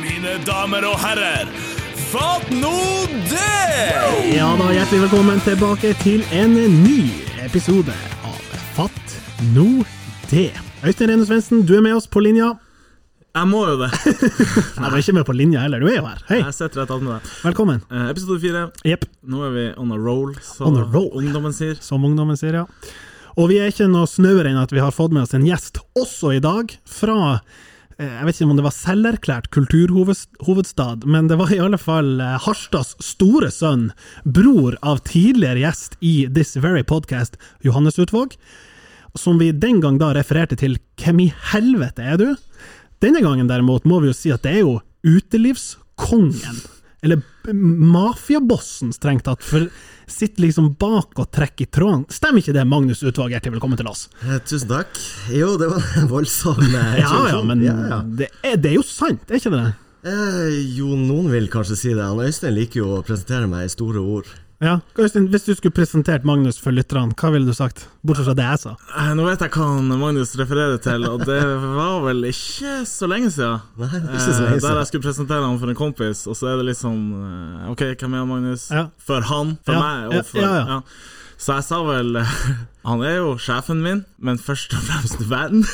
mine damer og herrer. Fatt nå det! Ja da, hjertelig velkommen tilbake til en ny episode av Fatt nå det. Øystein Rene Svendsen, du er med oss på linja. Jeg må jo det. Nei, du er ikke med på linja heller, du er jo her. Hei, Jeg sitter rett attmed deg. velkommen. Eh, episode fire. Jepp, Nå er vi on a roll, som On a roll. ungdommen sier. som ungdommen sier, ja. Og vi er ikke noe snauere enn at vi har fått med oss en gjest også i dag, fra eh, jeg vet ikke om det var selverklært kulturhovedstad, men det var i alle fall eh, Harstads store sønn, bror av tidligere gjest i This Very Podcast, Johannes Utvåg, som vi den gang da refererte til Hvem i helvete er du? Denne gangen derimot må vi jo si at det er jo utelivskongen. Eller b- mafiabossen, strengt tatt, for sitter liksom bak og trekker i tråden. Stemmer ikke det, Magnus Utvåg, hjertelig velkommen til oss? Eh, Tusen takk. Jo, det var en voldsom eh, Ja ja, introduksjon. men ja. Det, er, det er jo sant, er ikke det det? Eh, jo, noen vil kanskje si det. Han Øystein liker jo å presentere meg i store ord. Ja. Øystein, hvis du skulle presentert Magnus for lytterne, hva ville du sagt? Bortsett fra det jeg sa. Eh, nå vet jeg hva han Magnus refererer til, og det var vel ikke så lenge siden. Nei, det er ikke så Eh, lenge der siden. jeg skulle presentere han for en kompis, og så er det liksom eh, OK, hvem er han, Magnus? Ja. For han, for Ja, ja, meg og for ja, ja. Så jeg sa vel eh, Han er jo sjefen min, men først og fremst venn.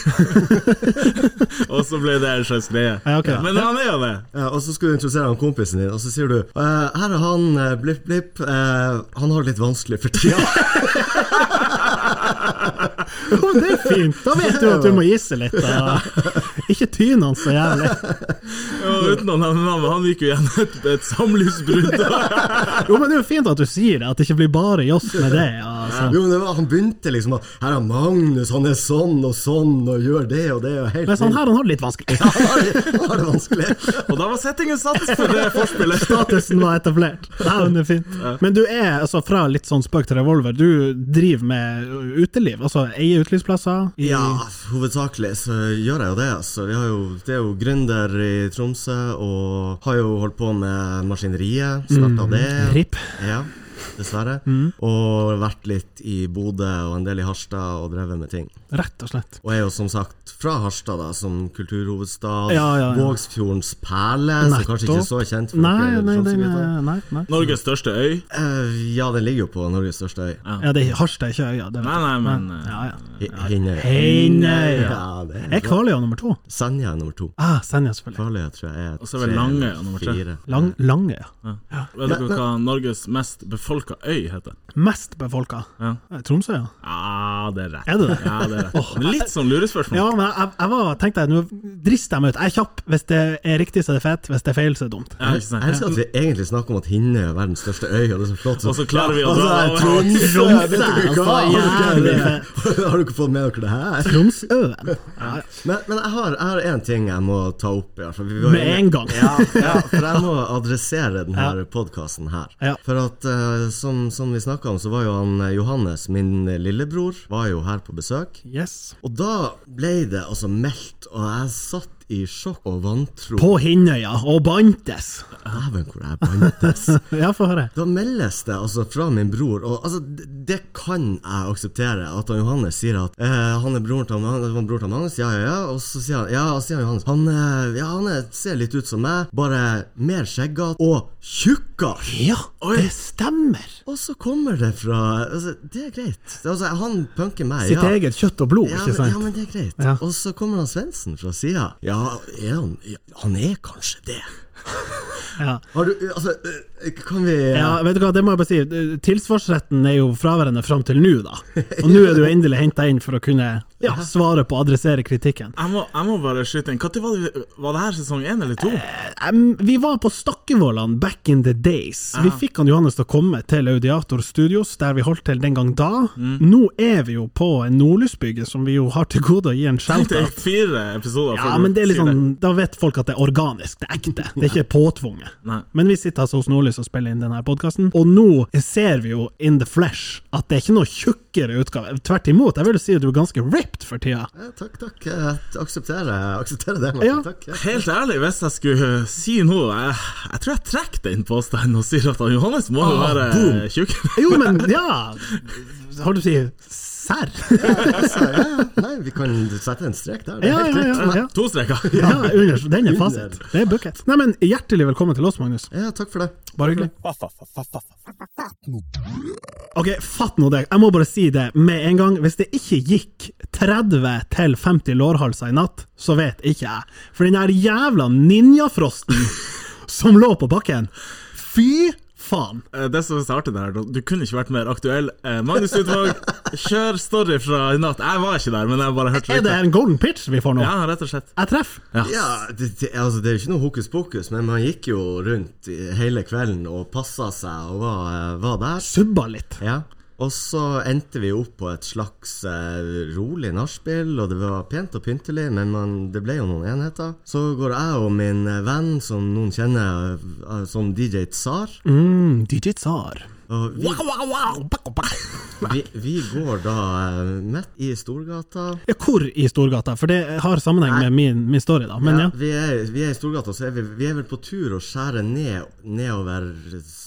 og så ble det en slags greie. Ja, ok. Men han er jo det. Ja, Eh, og så skulle du introdusere han kompisen din, og så sier du eh, Her er han, eh, Blipp Blipp. eh, han har det litt vanskelig for tida. Jo, men det er fint! Da vet du at du må gisse litt. Da. Ikke tyne han så jævlig. Og uten å nevne navn, han gikk jo gjennom et, et samlivsbrudd. Jo, men det er jo fint at du sier det, at det ikke blir bare joss med det. Altså. Jo, men det var, Han begynte liksom at Her er Magnus, han er sånn og sånn og gjør det og det. og helt Men sånn vilt. her, han har det litt vanskelig. Han har det- han har det vanskelig. Og da var settingen satt for det forspillet. Statusen var etablert. Ja, men det er fint. Men du er, altså fra litt sånn spøk til revolver, du driver med uteliv? Altså eier utelivsplasser? i- Ja, altså, hovedsakelig så gjør jeg jo det. Altså. Vi har jo, det er jo gründer i Tromsø, og har jo holdt på med maskineriet. Starta det. Mm. RIP. Mm. Ja, dessverre. Og vært litt i Bodø og en del i Harstad og drevet med ting. Rett og slett. Og er jo som sagt fra Harstad, da, som kulturhovedstad. Ja, ja, ja. Vågsfjordens perle, så kanskje ikke så kjent for Nei, dere sånn nei, den Tromsø-gutter. er, nei, nei. Norges største øy. Eh, ja, den ligger jo på Norges største øy. Ja, det er Harstad, ikke øya. det vet Nei, jeg. nei, men eh, Ja, ja. Hi- Hinnøy. Heinøya. eh, Ja, Er det er bra. Kvaløya nummer to? Senja er nummer to. Ah, Senja, selvfølgelig. Farlige tror jeg er Og så er vel Langøy nummer tre. fire. Lang, Langøya. eh, Vet dere hva Norges mest befolka øy heter? Mest befolka? Ja. Tromsø, ja. Ja, det er rett. Er det det? Ja, det er rett. Men Litt sånn lurespørsmål. Ja, men jeg, jeg var, tenkte jeg, nå drister jeg meg ut. Jeg er kjapp. Hvis det er riktig, så er det fett. Hvis det er feil, så er det dumt. Ja, ikke sant? Jeg elsker at vi egentlig snakker om at Hinnøy er verdens største øy, og det er så flott. Og så klarer vi å Altså, dra jeg er over. Tromsø! Tromsø, vet dere hva? altså, Har dere- jævlig Har dere ikke fått med dere det her? Tromsøen. Ja, ja. Men, men jeg har jeg har én ting jeg må ta opp. i hvert fall. Vi var Med inne- en gang. Ja, ja, for jeg må adressere denne her podkasten her. Ja. For at eh, som, som vi snakka om, så var jo han eh, Johannes, min lillebror, var jo her på besøk. Yes. Og da ble det altså meldt, og jeg satt i sjokk og vantro. På Hinnøya og Bantes. Dæven, hvor jeg bantes. Ja, få høre. Da meldes det altså fra min bror, og altså, det, det kan jeg akseptere, at han Johannes sier at eh, han er broren til, han, han er broren til Magnus, ja, ja, ja, og så sier han, ja, og så sier han Johannes, han, eh, ja, han er, ser litt ut som meg, bare mer skjeggat og tjukkere. Ja, det stemmer! Og så kommer det fra, altså, det er greit. Altså, han punker meg, Sitt ja. eget kjøtt og blod, Ja ikke men, ja, sant? men det er greit. Ja. Og så kommer han Svendsen fra sida. Ja, er han, ja, han er kanskje det. Ja. Har du, altså, eh, kan vi eh, Ja, vet du hva, det må jeg bare si. Tilsvarsretten er jo fraværende fram til nå, da. Og nå er du endelig henta inn for å kunne ja, svare på og adressere kritikken. Jeg må, jeg må bare skyte inn. Når var det, var det her sesong én eller to? Em, vi var på Stakkevollan back in the days. Vi fikk han Johannes til å komme til Audiator Studios, der vi holdt til den gang da. Nå er vi jo på en nordlysbygge, som vi jo har til gode å gi en Det er shout-out. fire episoder. Ja, før du men det er litt sier sånn, da vet folk at det er organisk, det er ekte. Det er ikke påtvunget. Nei. Men vi sitter altså hos Nordlys og spiller inn denne podkasten, og nå ser vi jo in the flesh at det er ikke noe tjukkere utgave. Tvert imot, jeg vil jo si at du er ganske ripped for tida. Ja, Takk, takk. Jeg aksepterer, jeg aksepterer det. Martin. Ja. Takk. Ja. Helt ærlig, hvis jeg skulle si noe Jeg, jeg tror jeg trekker den påstanden og sier at han Johannes må jo være tjukk. Jo, men ja Har du å si serr? Så, ja, ja. Nei, vi kan sette en strek der. Det er ja, helt ja, greit. ja, ja. To streker! Ja, under, den er fasit. Det er bucket. Nei, men Hjertelig velkommen til oss, Magnus. Ja, takk for det. Bare hyggelig. Ok, fatt nå det. Jeg må bare si det med en gang. Hvis det ikke gikk 30 til 50 lårhalser i natt, så vet ikke jeg. For den der jævla ninjafrosten som lå på bakken Fy faen! Eh, Det som er artig der, du kunne ikke vært mer aktuell. Eh, Magnus Utvåg, kjør story fra i natt. Jeg var ikke der, men jeg bare hørte Er det litt. en golden pitch vi får nå? Ja, rett og slett. Jeg treffer. Ja, det, det, altså, det er jo ikke noe hokus pokus, men man gikk jo rundt i- hele kvelden og passa seg og var, eh, var der. Subba litt. Ja. Og så endte vi opp på et slags eh, rolig nachspiel, og det var pent og pyntelig, men man, det ble jo noen enheter. Så går jeg og min eh, venn, som noen kjenner eh, som DJ Tsar Mm, DJ Tsar. og vi, vi, vi går da eh, midt i Storgata. Ja, hvor i Storgata? For det har sammenheng med min, min story, da. Men ja. Ja, vi, er, vi er i Storgata, så er vi, vi er vel på tur å skjære ned nedover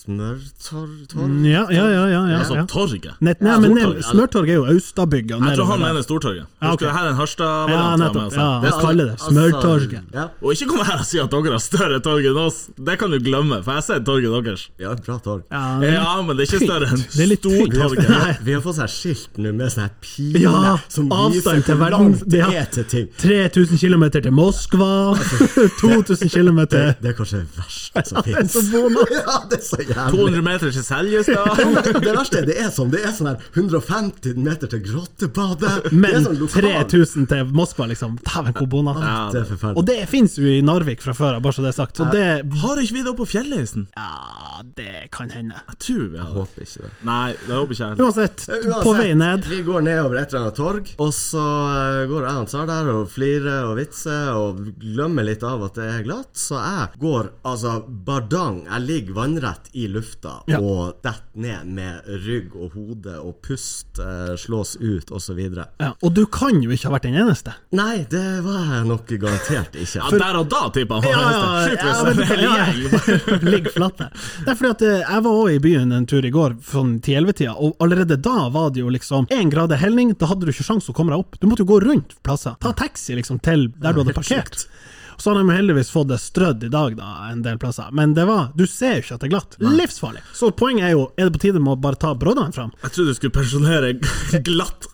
Smørtorv? Ja, ja, ja. ja, ja, Altså ja. torget. Nett, nei, men ned- Stortorget, eller? Smørtorget er jo Austadbygga. Jeg tror han nedover der. mener Stortorget. Ja, Husker ok. du, Her er en Ja, Harstad-variant. av meg, nettopp, altså. ja. Det Jeg kaller det smørtorget. Ja, Og ikke kom her og si at dere har større torg enn oss! Det kan du glemme, for jeg har sett torget deres. ja, bra torg. Ja, det er litt- Ja, men det er ikke større enn Det er litt tynt. Stortorget. Nei. Vi har fått sånn her skilt nå med sånn her pile Ja, som viser avstand til hvor verden. langt det Ja. er til ting. 3000 km til Moskva, 2000 km Det, til det er kanskje det verste som fins. Ja, det er så jævlig. 200 meter til Seljestad. Det verste er det er sånn Det er sånn her 150 meter til Grottebadet. det Men er sånn lokal- 3000 til Moskva, liksom. Dæven, hvor bonat. Ja, Det er Og forferdelig. det fins jo i Narvik fra før av, bare så det er sagt. Så det Har ikke vi det oppe på fjellheisen? Ja, det kan hende. Jeg tror vi har det. håper ikke det. Nei, det håper ikke jeg. Uansett, på vei ned Vi går nedover et eller annet torg, og så eh, går jeg og Tsar der og flirer og vitser og glemmer litt av at det er glatt. Så jeg går altså bardang. Jeg ligger vannrett i lufta Ja. og detter ned med rygg og hode og pust eh, slås ut osv. ja, Og du kan jo ikke ha vært den eneste. Nei, det var jeg nok garantert Ja, ikke. der og da tipper jeg han har hester. Skyt hvis det er en hel gjeng. Ligg flatt der. Det er fordi at eh, jeg var også i byen en tur i går, sånn 10-11-tida, og allerede da var det jo liksom én grad av helning, da hadde du ikke sjans å komme deg opp. Du måtte jo gå rundt plasser. Ta taxi liksom til der du hadde parkert. Så har de jo heldigvis fått det strødd i dag, da, en del plasser. Men det var, du ser jo ikke at det er glatt. Livsfarlig. Så poenget er jo, er det på tide med å bare ta broddene fram? Jeg trodde du skulle pensjonere glatt.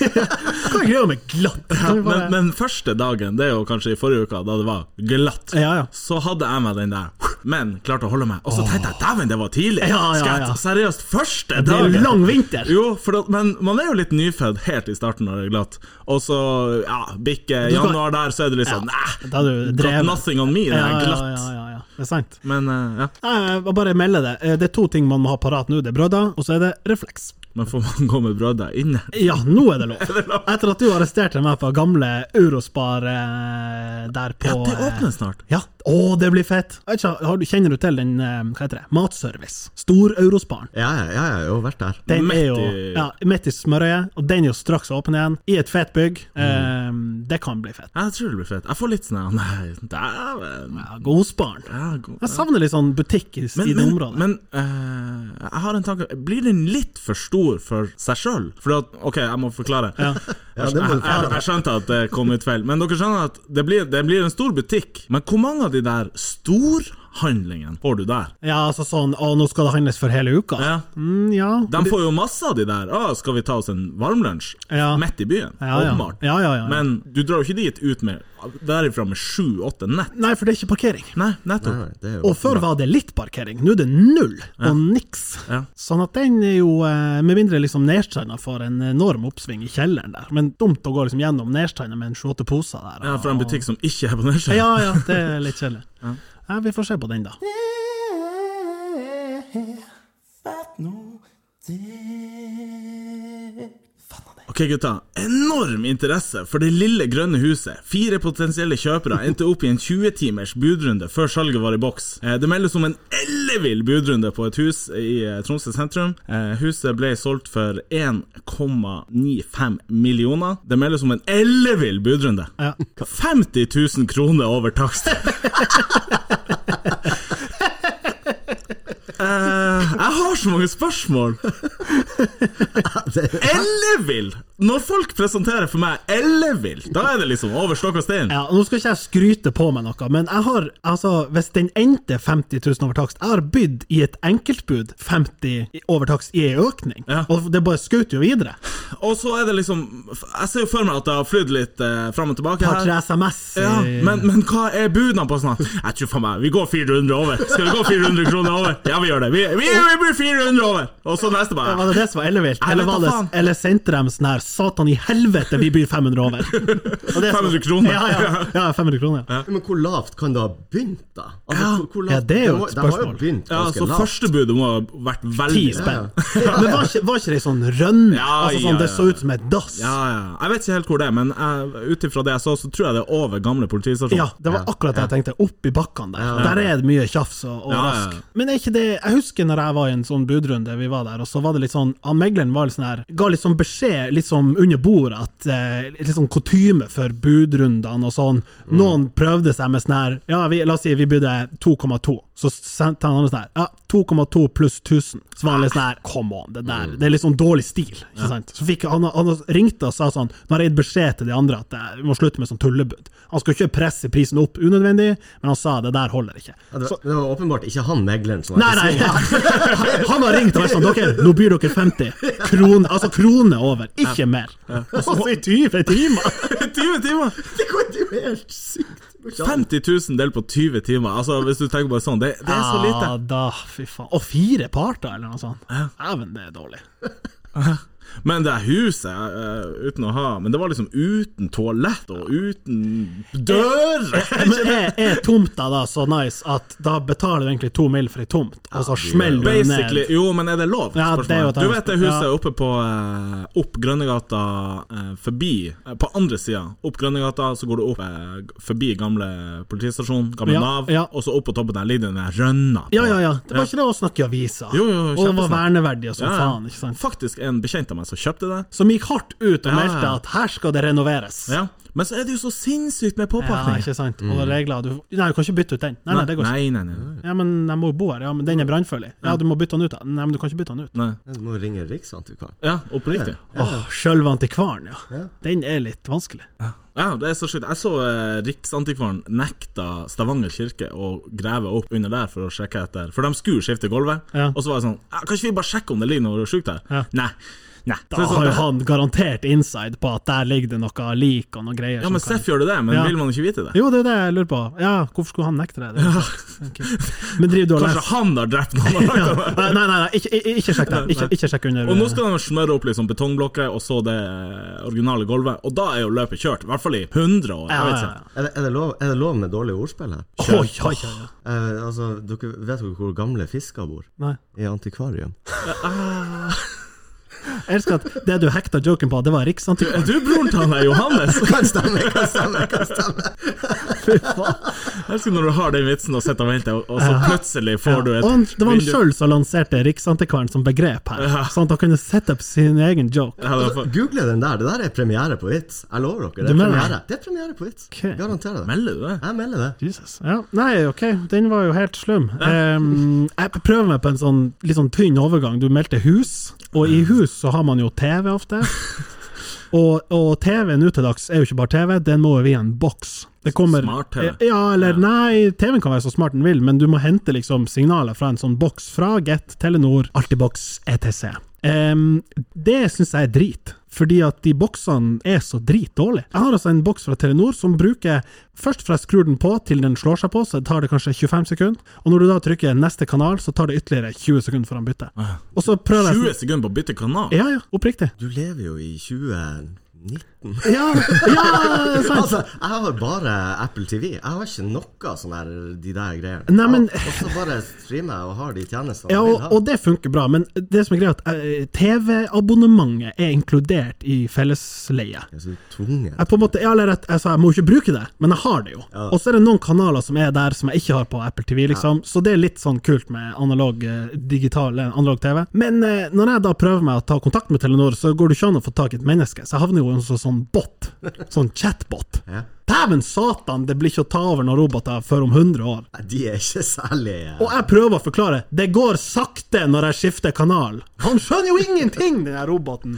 Hva er greia med glatt? Kan vi Men, bare- men første dagen, det er jo kanskje i forrige uke, da det var glatt, Ja, ja. så hadde jeg meg den der, men klarte å holde meg. Og så tenkte jeg dæven, det var tidlig! Ja, ja, Skal ja. jeg seriøst første det er dagen? jo lang vinter. Jo, for at, men man er jo litt nyfødt helt i starten når det er glatt, og så ja, bikke skal- januar der, så er det litt sånn Da er du Nei, dreven. got nothing on me, det Ja, er ja, glatt. ja, ja, ja. Det er sant. Men eh, ja, Nei, jeg vil bare melde det. Eh, Det er to ting man må ha parat nå. Det er brødder, og så er det refleks. men får man gå med brødet inne? Ja, nå er det lov. Etter at du arresterte meg på gamle Eurospar eh, der på Ja, det eh, åpner snart. Ja. Å, det blir fett! Jeg vet ikke, har du- Kjenner du til den, eh, hva heter det, Matservice? Stor-Eurosparen. Ja, ja, ja, jeg har jo vært der. Den Midt er jo i- ja, midt i smørøyet, og den er jo straks åpen igjen. I et fett bygg. Mm. Eh, det kan bli fett. Jeg tror det blir fett. Jeg får litt sånn ja, Nei, dæven. Ja, Godsparen. Ja, god- Jeg savner litt sånn butikk i, i det men, området. men eh, jeg har en tanke Blir den litt for stor for seg sjøl? For at, OK, jeg må forklare. Ja, Jeg, det jeg, jeg, må du forklare. skjønte at det kom ut feil, men dere skjønner at det blir, det blir en stor butikk. Men hvor mange av de der storhandlingene får du der? Ja, altså sånn Å, nå skal det handles for hele uka? Ja. Mm, ja. De får jo masse av de der. Å, skal vi ta oss en varmlunsj Ja. midt i byen? Ja, ja. Åpenbart. Ja, ja, ja, ja. Men du drar jo ikke dit ut med derifra med sju-åtte nett. Nei, for det er ikke parkering. Nei, Nei, nettopp. nei, det er jo Og før var det litt parkering, nå er det null og niks. Ja. Sånn at den er jo, eh, med mindre liksom Nerstranda får en enorm oppsving i kjelleren der, men dumt å gå liksom gjennom Nerstranda med en sju-åtte poser der. Ja, og- fra en butikk som ikke er på nedskjell. Ja, ja, det er litt kjedelig. Ja. vi får se på den, da. Ok, gutta. Enorm interesse for det lille grønne huset. Fire potensielle kjøpere endte opp i en 20-timers budrunde før salget var i boks. Eh, Det meldes om en ellevill budrunde på et hus i eh, Tromsø sentrum. Eh, Huset ble solgt for 1,95 millioner. Det meldes om en ellevill budrunde. Ja. 50 000 kroner over takst. Eh, jeg Jeg har så mange spørsmål! Ellevill! Når folk presenterer for meg ellevill, da er det liksom over stokk og stein. Ja, nå skal ikke jeg skryte på meg noe, men jeg har, altså, hvis den endte 50 000 over takst, jeg har bydd i et enkeltbud 50 i- over takst i en økning, Ja. og det bare skjøt jo videre. Og så er det liksom Jeg ser jo for meg at det har flydd litt eh, fram og tilbake Par tre her. SMS. Ja, i- men, men hva er budene på sånn? Jeg tror faen meg Vi går 400 over. Skal vi gå 400 kroner over? Ja, vi gjør det. Vi, vi, vi blir 400 over! Og så neste bare. Var det det som var ellevilt? Jeg Eller, vet var da det, faen. eller sendte de sånn her 'Satan i helvete, vi byr 500 over'? Og det som- 500 kroner. Ja, ja, ja 500 kroner. Ja. Men hvor lavt kan det ha begynt, da? Altså, hvor- hvor Ja, lavt- det er jo må- et De har spørsmål. altså, jo begynt Ja, ganske så lavt. første budet må ha vært veldig Ti spenn. Men var ikke, var ikke det sånn rønne? Ja, altså, sånn, ja, det ja. så ut som et dass? Ja, ja. Jeg vet ikke helt hvor det er, men eh, ut ifra det jeg så, så tror jeg det er over gamle politistasjon. Ja, det var akkurat det jeg tenkte. Opp i bakkene der. Der er det mye tjafs og, og Ja, ja. rask. Men er ikke det Jeg husker når jeg var i en sånn budrunde, vi var der, og så var det litt sånn han Megleren var litt sånn her, ga litt sånn beskjed litt sånn under bordet, at eh, litt sånn kutyme for budrundene og sånn. Mm. Noen prøvde seg med sånn her Ja, vi, la oss si vi bydde 2,2, så sendte han andre sånn her Ja, 2,2 pluss 1000. Så var han litt sånn her Come on, det Mm. der Det er litt sånn dårlig stil, ikke sant? Så fikk han, han ringte og sa sånn Nå har jeg gitt beskjed til de andre at eh, vi må slutte med sånn tullebud. Han skulle ikke presse prisen opp unødvendig, men han sa det der holder ikke. Ja, det, var, det var åpenbart ikke han megleren som var Nei, nei! Han har ringt og vært sånn Dere, nå byr dere 50 kroner, altså krone over, ikke mer. Og så i 20 timer! 20 timer! Det går jo helt sykt! Det går ikke an. 50 000 delt på 20 timer, altså hvis du tenker bare sånn, det, det er så lite. Ja Ah, da, fy faen. Og fire parter, eller noe sånt. Dæven, det er dårlig. Men det huset, eh, uten å ha Men det var liksom uten toalett og uten dører! Men er, er tomta da så nice at da betaler du egentlig to mil for ei tomt, og så smeller du ned? Basically, Jo, men er det lov? Ja, det er jo et Spørsmålet. du vet det huset Ja. oppe på eh, Opp Grønnegata eh, forbi eh, På andre sida. Opp Grønnegata, så går du opp eh, forbi gamle politistasjon, gamle Ja, Nav, ja. og så opp på toppen der ligger den der rønna. på- Ja, ja, ja. Det var ikke det å snakke i aviser. Jo, jo, og var kjempesnakk. verneverdige som Ja, ja. faen, ikke sant. Faktisk en bekjent av meg som kjøpte det. Som gikk hardt ut og Ja, ja. meldte at her skal det renoveres. Ja. Men så er det jo så sinnssykt med Ja, påpakning. ikke sant. Og regler du Nei, du kan ikke bytte ut den. Nei, nei, det går ikke. nei, nei, nei. Ja, men jeg må jo bo her. Ja, men den er brannfarlig. Ja, du må bytte den ut. da. Nei, men du kan ikke bytte den ut. nei. Du må ringe Riksantikvaren. Ja, oppriktig. Åh, sjølve antikvaren, ja. Den er litt vanskelig. Ja, det er så sjukt. Jeg så eh, Riksantikvaren nekta Stavanger kirke å grave opp under der for å sjekke etter. For de skulle skifte gulvet, Ja. og så var det sånn ja, Kan ikke vi bare sjekke om det ligger noe sjukt her? Ja. Nei. Nei. Så Da det er har jo sånn, han garantert inside på at der ligger det noe lik og noe greier. ja, som men kan- Seff gjør det, det, men Ja. vil man ikke vite det? Jo, det er jo det jeg lurer på. Ja, hvorfor skulle han nekte det? det er jo sant. Ok. Men driver du og Kanskje leser? han har drept noen? og lagt dem der. Nei, nei, nei, nei, ikke, ikke- ikke sjekk det. Ikke, ikke sjekk under. Og nå skal de smøre opp liksom betongblokker og så det eh, originale gulvet, og da er jo løpet kjørt. I hvert fall i 100 år. ja, Jeg vet ja, ikke. ja. Er det, er, det lov, er det lov med dårlig ordspill her? Oi, oi, oi, oi. Eh, altså, dere Vet dere hvor gamle fisker bor? Nei. I antikvarium. Jeg elsker at det du hekta joken på, det var Er Riksantikvaren. du broren til han der Johannes? Kan stemme, kan stemme! kan stemme Fy faen. Jeg elsker når du har den vitsen og sitter og venter, og- og så plutselig får du et Og han- det var han vindu. sjøl som lanserte Riksantikvaren som begrep her, sånn at han kunne sette opp sin egen joke. Ja, det var for- Google den der. Det der er premiere på vits. Jeg lover dere. Det Du er mener det? premiere Det er premiere på vits. Ok. Garanterer det. Melder du det? Jeg melder det. Jesus. Ja. Nei, ok, den var jo helt slum. Ehm, jeg prøver meg på en sånn litt sånn tynn overgang. Du meldte hus, og i hus så har man jo TV ofte. Og, og TV nå til dags er jo ikke bare TV, den må jo i en boks. Det kommer, Smart-TV. Ja, eller nei, TV-en kan være så smart den vil, men du må hente liksom signaler fra en sånn boks fra Get, Telenor, Altibox, etc. Em, det syns jeg er drit, fordi at de boksene er så dritdårlige. Jeg har altså en boks fra Telenor som bruker Først fra jeg skrur den på til den slår seg på, så tar det kanskje 25 sekunder. Og når du da trykker neste kanal, så tar det ytterligere 20 sekunder før han bytter. Og så prøver jeg 20 sekunder på å bytte kanal? Ja, ja, oppriktig. Du lever jo i 2019. Ja, ja, sant. Altså, jeg har bare Apple TV. Jeg har ikke noe sånn der de der greiene. Nei, men- Og så bare streamer jeg og har de tjenestene Ja, jeg og, vil ha. og det funker bra, men det som er greia, er at eh, TV-abonnementet er inkludert i fellesleie. Jeg er så tvungen. Jeg på en måte, ja, eller at, altså, jeg må jo ikke bruke det, men jeg har det jo. Og så er det noen kanaler som er der som jeg ikke har på Apple TV, liksom. Så det er litt sånn kult med analog eh, digital eh, analog TV. Men eh, når jeg da prøver meg å ta kontakt med Telenor, så går det ikke an å få tak i et menneske, så jeg havner jo i en sånn- sånn bot. Sånn chatbot. Hæ, Ja. dæven satan, det blir ikke å ta over noen roboter før om 100 år. Nei, de er ikke særlig eh, Og jeg prøver å forklare. Det går sakte når jeg skifter kanal. Han skjønner jo ingenting, den her roboten.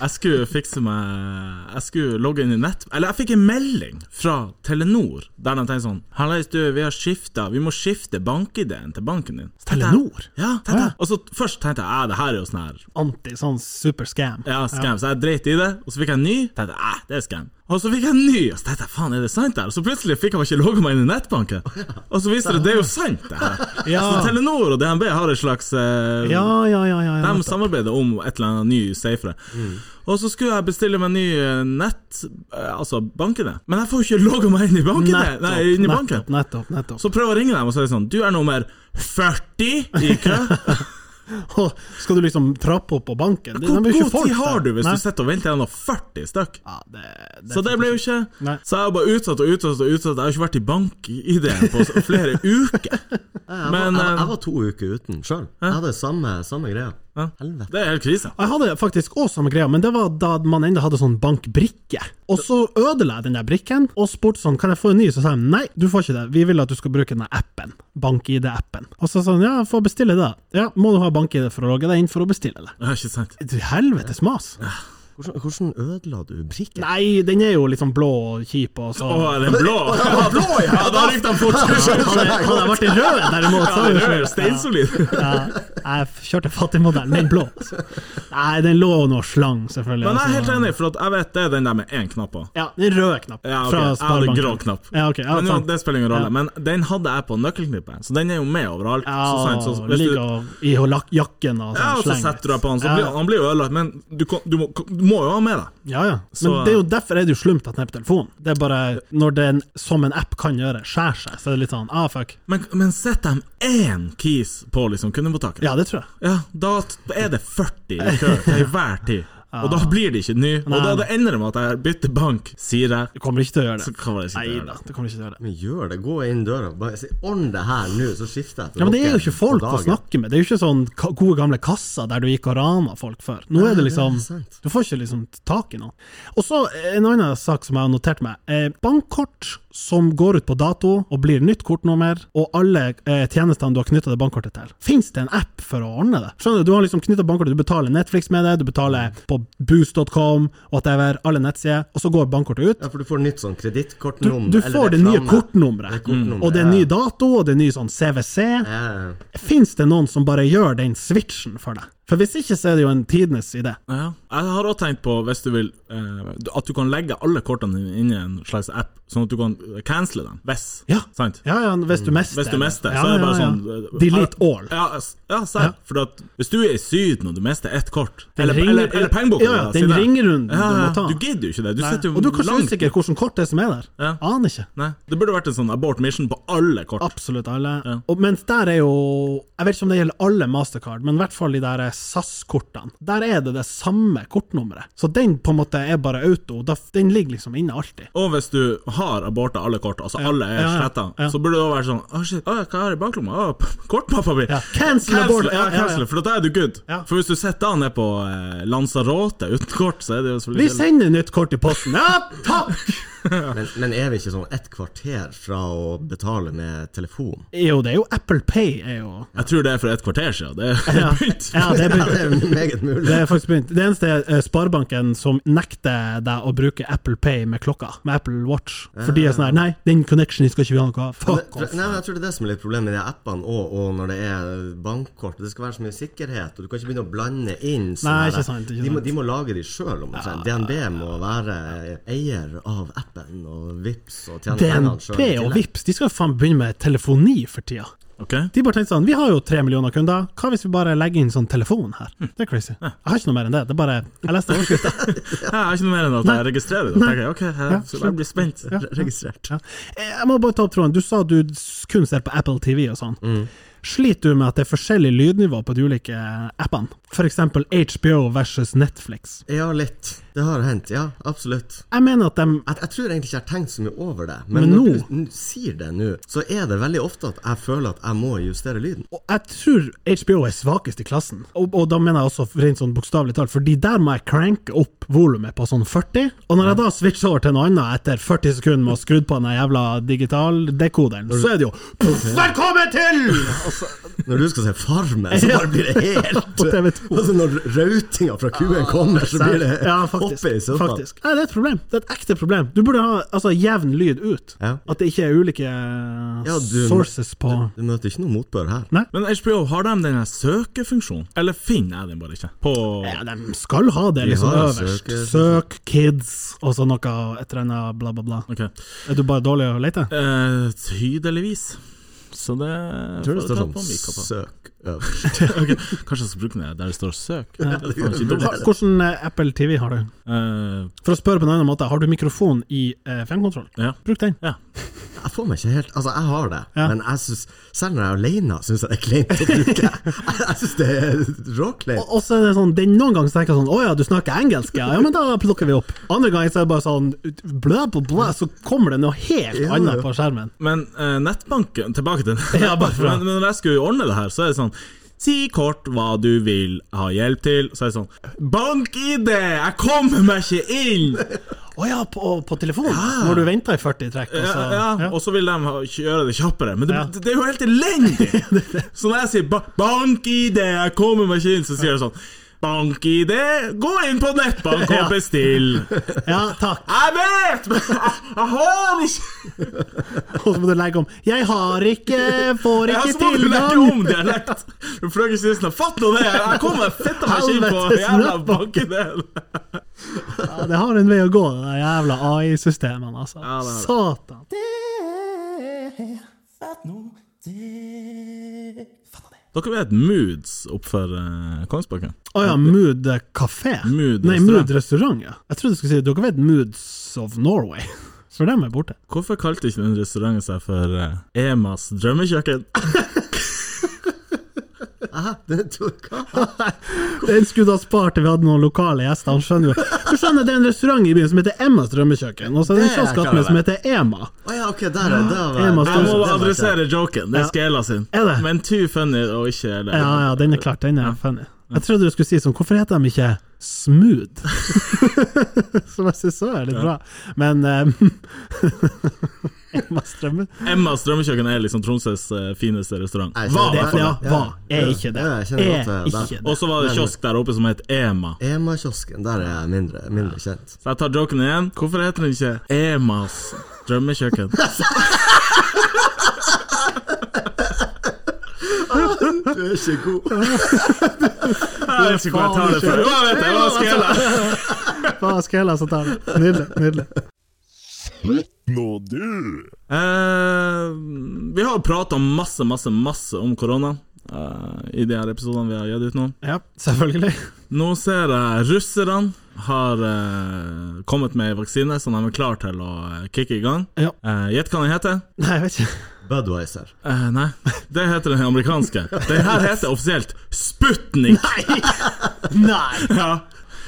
Jeg skulle fikse meg Jeg skulle logge inn i nett Eller jeg fikk en melding fra Telenor Der de tenkte sånn Hallais du, vi har skiftet Vi må skifte bankideen til banken din Så tenkte jeg- Telenor? Ja, tenkte jeg Og så først tenkte jeg "Æ, Det her er jo sånn her Anti sånn superscam. Ja, scam Så jeg dreit i det Og så fikk jeg en ny Tenkte jeg, "Æ, det er scam Og så fikk jeg en ny Og så tenkte jeg Faen, er det sant det her? Og så plutselig fikk jeg ikke logge meg inn i nettbanken Og så viser det Det er jo sant det her Ja. Så Telenor og DNB har et slags eh, Ja, ja, ja. ja, ja. de samarbeider om et eller annet ny safer. Og så skulle jeg bestille meg ny eh, nett, eh, altså bankene. Men jeg får jo ikke logga meg inn i banken! Nettopp, Nei, inn i banken. nettopp, nettopp. nettopp. Så prøver jeg å ringe dem og si sånn Du er nummer 40 i kø. Å, Skal du liksom trappe opp på banken? De- de Hvor er jo ikke god folk tid har der. du hvis Nei. du sitter og venter gjennom 40 stykk? ja, det, det, Så det ble jo ikke Nei. Så jeg har bare utsatt og utsatt og utsatt. Jeg har ikke vært i bank-ID-en på så- flere uker. jeg, var, Men jeg, jeg eh, var to uker uten sjøl. Jeg hadde samme, samme greia. eh, Helvete. det er helt krise. Jeg hadde faktisk også samme greia, men det var da man enda hadde sånn bankbrikke. Og så ødela jeg den der brikken, og spurte sånn, kan jeg få en ny? Så sa de nei, du får ikke det, vi vil at du skal bruke denne appen, BankID-appen. Og så sa han ja, få bestille det. Ja, må du ha BankID for å logge deg inn for å bestille det. Ja, ikke sant. Til Helvetes mas. Hvordan, hvordan ødela du brikken? Nei, den er jo litt sånn blå og kjip og sånn. så Å, er den blå? Ja, blå, ja! da rykte han fort. Hadde hadde jeg vært i rød derimot, så Ja, hadde den jeg er jo skjønt. sånn. Ja. steinsolid. Ja, jeg kjørte fattigmodellen, den blå. altså. Nei, den lå noe slang, selvfølgelig. Men jeg er altså. helt enig, for at jeg vet det er den der med én knapp på. Ja, den røde knapp Ja, ok. fra Jeg hadde Sparebanken. grå knapp. Ja, ok, ja, Men jo, sant. det spiller ingen rolle. Ja. Men den hadde jeg på nøkkelknippet, så den er jo med overalt. Ja, så sant, så, hvis ligger du, og- i ho- lak- jakken og sånn. ja, og så sleng. setter du deg på han, så Ja, blir, han blir jo ødelagt. Men du, kan- du, må, du må jo ha med deg. Ja, ja. Men Så- det er jo derfor er det jo slumt at den er på telefonen. Det er bare når den, som en app kan gjøre, skjærer seg, så er det litt sånn ah, fuck. Men, men sett dem én keys på liksom kundemottaket. Ja, det tror jeg. Ja, da er det 40 i kø til hver tid. Og da blir det ikke ny. Og Nei. da det ender det med at jeg bytter bank, sier jeg. Du kommer ikke til å gjøre Så det. kan jeg sitte Nei da, og gjøre det. du kommer ikke til å gjøre det. Men gjør det, gå inn døra. Bare si 'ordn det her nå', så skifter jeg til Ja, men Det er jo dere ikke folk på å dagen.» snakke med. Det er jo ikke sånn ka gode gamle kasser der du gikk og rana folk før. Nå er det liksom det er sant. Du får ikke liksom tak i noen. Og så eh, en annen sak som jeg har notert meg. Eh, bankkort som går ut på dato og blir nytt kortnummer, og alle eh, tjenestene du har knytta det bankkortet til. Fins det en app for å ordne det? Skjønner Du du har liksom knytta bankkortet, du betaler Netflix med det, du betaler på boost.com, whatever, alle nettsider, og så går bankkortet ut. Ja, for du får nytt sånn Du, kredittkortnummer. du eller får det nye reklame. Det er kortnummeret, kortnummeret, og det er ny dato, og det er ny sånn CWC. ja. Eh, Fins det noen som bare gjør den switchen for deg? For hvis ikke, så er det jo en tidenes idé. Ja. Jeg har òg tenkt på, hvis du vil, eh, at du kan legge alle kortene dine inn i en slags app, sånn at du kan cancele dem. Hvis. Ja. Sant? Ja, ja, hvis du mister. Mm. Hvis du det. mister, Ja, så er det bare ja, ja. sånn eh, Delete all. Ja, s- ja serr. For at, hvis du er i Syden og du mister ett kort, Den eller, ringer- eller, eller pengeboka Ja, ja, da, den si det. ringerunden ja, du må ja, ta. Du gidder jo ikke det. Du Nei. sitter jo Og du er kanskje langt usikker hvilket kort det er som er der? Ja. Aner ikke. Nei, Det burde vært en sånn abort mission på alle kort. Absolutt alle. Og mens der er jo Jeg vet ikke om det gjelder alle Mastercard, men i hvert fall de der eh, SAS-kortene. Der er det det samme kortnummeret. Så den på en måte er bare auto. da- Den ligger liksom inne alltid. Og hvis du har aborta alle kort, altså alle er Ja, ja, sletta, ja. så burde det òg være sånn Å, shit, å, hva har jeg i baklomma? Å, p- Kortmappa mi! Ja, cancel abort. Ja, Ja, ja, ja. cancel, For da er du good. Ja. For hvis du sitter da nede på eh, Lanzarote uten kort, så er det jo så Vi litt sender nytt kort i posten! Ja, takk! men, men er vi ikke sånn et kvarter fra å betale med telefon? Jo, det er jo Apple Pay, er jo Jeg tror det er for et kvarter siden. Det er Ja, begynt. ja det er Ja, begynt. det er meget mulig. Det er faktisk begynt. Det eneste er eh, Sparebanken som nekter deg å bruke Apple Pay med klokka, med Apple Watch. For de er sånn her Nei, den connectionen skal ikke vi ha noe av. Men- Fuck for- off. Nei, men jeg tror det er det som er litt problemet med de appene og, og når det er bankkort. Det skal være så mye sikkerhet, og du kan ikke begynne å blande inn sånne Nei, her- ikke sant, ikke de, må, sant. de må lage de sjøl, omtrent. DNB må være eier av appen og Vips og tjene pengene DNB sjøl. og Vipps, de skal jo faen begynne med telefoni for tida. Ok, De bare tenkte sånn Vi har jo tre millioner kunder, hva hvis vi bare legger inn sånn telefon her? Det er crazy. Jeg har ikke noe mer enn det. Det er bare Jeg leste overskrifta. Jeg har ikke noe mer enn at jeg registrerer det. Da tenker jeg, ok, jeg, så jeg blir spent. Ja. Registrert. Ja. Eh, Jeg må bare ta opp tråden. Du sa du s- kun ser på Apple TV og sånn. Sliter du med at det er forskjellig lydnivå på de ulike appene? For eksempel HBO versus Netflix. Ja, litt. Det har hendt, ja. Absolutt. Jeg mener at de Jeg, jeg tror egentlig ikke jeg har tenkt så mye over det, men, Men når nå- du n sier det nå, så er det veldig ofte at jeg føler at jeg må justere lyden. Og jeg tror HBO er svakest i klassen, og, og da mener jeg også rent sånn bokstavelig talt, fordi der må jeg cranke opp volumet på sånn 40, og når jeg da switcher over til noe annet etter 40 sekunder med å skru på den jævla digitaldekoderen, så er det jo Velkommen til! Når du skal se Farmen, så Ja. bare blir det helt På TV2. Altså Når rautinga fra kuen kommer, så blir det Ja, oppe faktisk. i sofaen. faktisk. Nei, det er et problem. Det er et ekte problem. Du burde ha altså, jevn lyd ut. Ja. At det ikke er ulike du- sources på Du møter ikke noe motbør her. Men HBO, har de denne søkefunksjonen? Eller finner jeg den bare ikke? På Ja, de skal ha det liksom har øverst. søke- Søk kids, og så noe et eller annet bla, bla, bla. Ok. Er du bare dårlig å lete? Eh, tydeligvis. Så det Tror du det får står ta sånn på Mika på. Søk øverst. Ok, Kanskje jeg skal bruke den der der det står 'søk'? Det er faen ikke dumt. Ha- Hvordan eh, Apple TV har du? Eh, For å spørre på en annen måte, har du mikrofon i eh, fjernkontroll? ja. Bruk den. Jeg får meg ikke helt Altså, jeg har det, Ja. men jeg synes, selv når jeg er alene, syns jeg det er kleint å bruke. Jeg syns det er råkleint. Og og så er det sånn, det er noen ganger så tenker jeg sånn Å ja, du snakker engelsk, ja? ja men da plukker vi opp. Andre ganger så er det bare sånn blæ, blæ, blæ, så kommer det noe helt Ja, annet ja. på skjermen. Men eh, nettbanken Tilbake til den. Ja, bare bra. men, men når jeg skulle ordne det her, så er det sånn Si kort hva du vil ha hjelp til. Så er det sånn Bank-ID! Jeg kommer meg ikke inn! Å ja, på, på telefonen? Når du venter i 40 trekk, og Ja, så ja. ja. Og så vil de ha- gjøre det kjappere. Men det, Ja. det, er jo helt elendig! Så når jeg sier ba 'bank-ID, jeg kommer meg ikke inn', så sier jeg sånn Bank-ID, gå inn på nettbank Ja. og bestill! ja, takk. Jeg vet, men jeg, jeg har ikke Og så må du legge om. Jeg har ikke, får Jeg ikke har så mange legger tilgang. om dialekt! Fløgesnissen, fatt nå det! Jeg kommer fitta meg ikke inn på Helvetes jævla nøtt. banken! Ja, det har en vei å gå, de der jævla AI-systemene, altså. Ja, det er det. Satan. Dere vet Moods oppfor uh, Kongsbakken? Å ja, Mood kafé? Mood Nei, restaurant. Mood restaurant, ja. Jeg trodde du skulle si dere vet Moods of Norway, for dem er borte. Hvorfor kalte ikke den restauranten seg for eh, Emas drømmekjøkken? Hæ? Det tok hva? Den skulle du ha spart til vi hadde noen lokale gjester. Han skjønner jo Du skjønner, det er en restaurant i byen som heter Emmas drømmekjøkken, og så er det en Det er kiosk klar attmed som over. heter Ema. Å ja, ok, der er det. var- Jeg må der Jeg var- må der var- adressere joken. Det Ja. er Skela sin. Er det? Men too funny og ikke eller. Ja, ja, den er klart. Den er funny. Jeg trodde du skulle si sånn Hvorfor heter de ikke Smooth? Som jeg syns også er litt bra. Men um, Emmas drømme Emmas drømmekjøkken er liksom Tromsøs eh, fineste restaurant. Jeg Var kjenner i det, hvert fall ja, det. var, er ikke det. Ja, jeg kjenner godt Er til det. ikke Og det. så var det kiosk der oppe som het Ema. Ema-kiosken, der er jeg mindre, mindre kjent. Så jeg tar joken igjen. Hvorfor heter den ikke Emas drømmekjøkken? Du er ikke god. Jeg vet ikke hvor jeg tar det fra. Hva vet jeg, hva skal jeg gjøre? Hva skal jeg la så ta det? Nydelig. nydelig Nå du! Eh, vi har prata masse, masse, masse om korona eh, i de her episodene vi har gitt ut nå. Ja, selvfølgelig. Nå ser jeg russerne har eh, kommet med en vaksine som de er klar til å eh, kicke i gang. Ja. Eh, Gjett hva den heter? Nei, jeg vet ikke. Budwiser. Eh, nei, det heter den amerikanske. Den her heter offisielt Sputnik! Nei! Ja.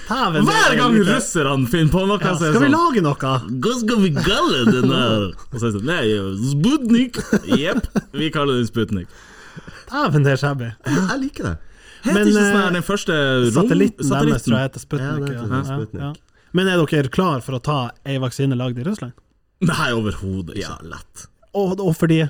Dæven, Hver det er gang lite. russerne finner på noe, ja, så er Skal vi det sånn lage noe? Hva skal vi kalle den her? Og så er det sånn, nei, Sputnik. Jepp, vi kaller den Sputnik. Dæven, det er shabby. Jeg liker det. Heter Men, ikke sånn eh, her den første rom... Satellitten deres tror jeg heter Ja, det Sputnik. heter Ja, den, ja, Sputnik. ja. Men er dere klar for å ta ei vaksine lagd i Russland? Nei, overhodet ikke. Ja, lett. Og, og fordi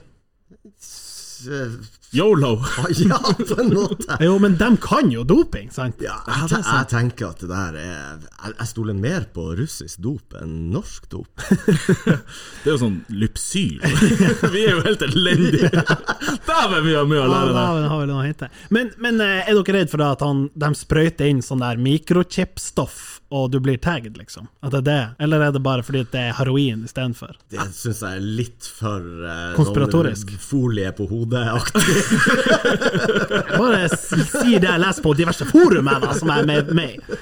S- eh, Yolo. Ja, på en måte. Jo, men de kan jo doping, sant? Ja, jeg, te jeg tenker at det der er Jeg, jeg stoler mer på russisk dop enn norsk dop. Det er jo sånn lypsyl. vi er jo helt elendige. Dæven, vi har mye å Ja, lære da der. har vi noe å hente. Men, men eh, er dere redd for at han, de sprøyter inn sånn der mikrochipstoff, og du blir tagged, liksom? At det er det? Eller er det bare fordi at det er heroin istedenfor? Det syns jeg er litt for eh, Konspiratorisk. Sånn folie på hodet-aktig. Bare si, si det jeg leser på diverse forum jeg, da, som jeg er med, med i.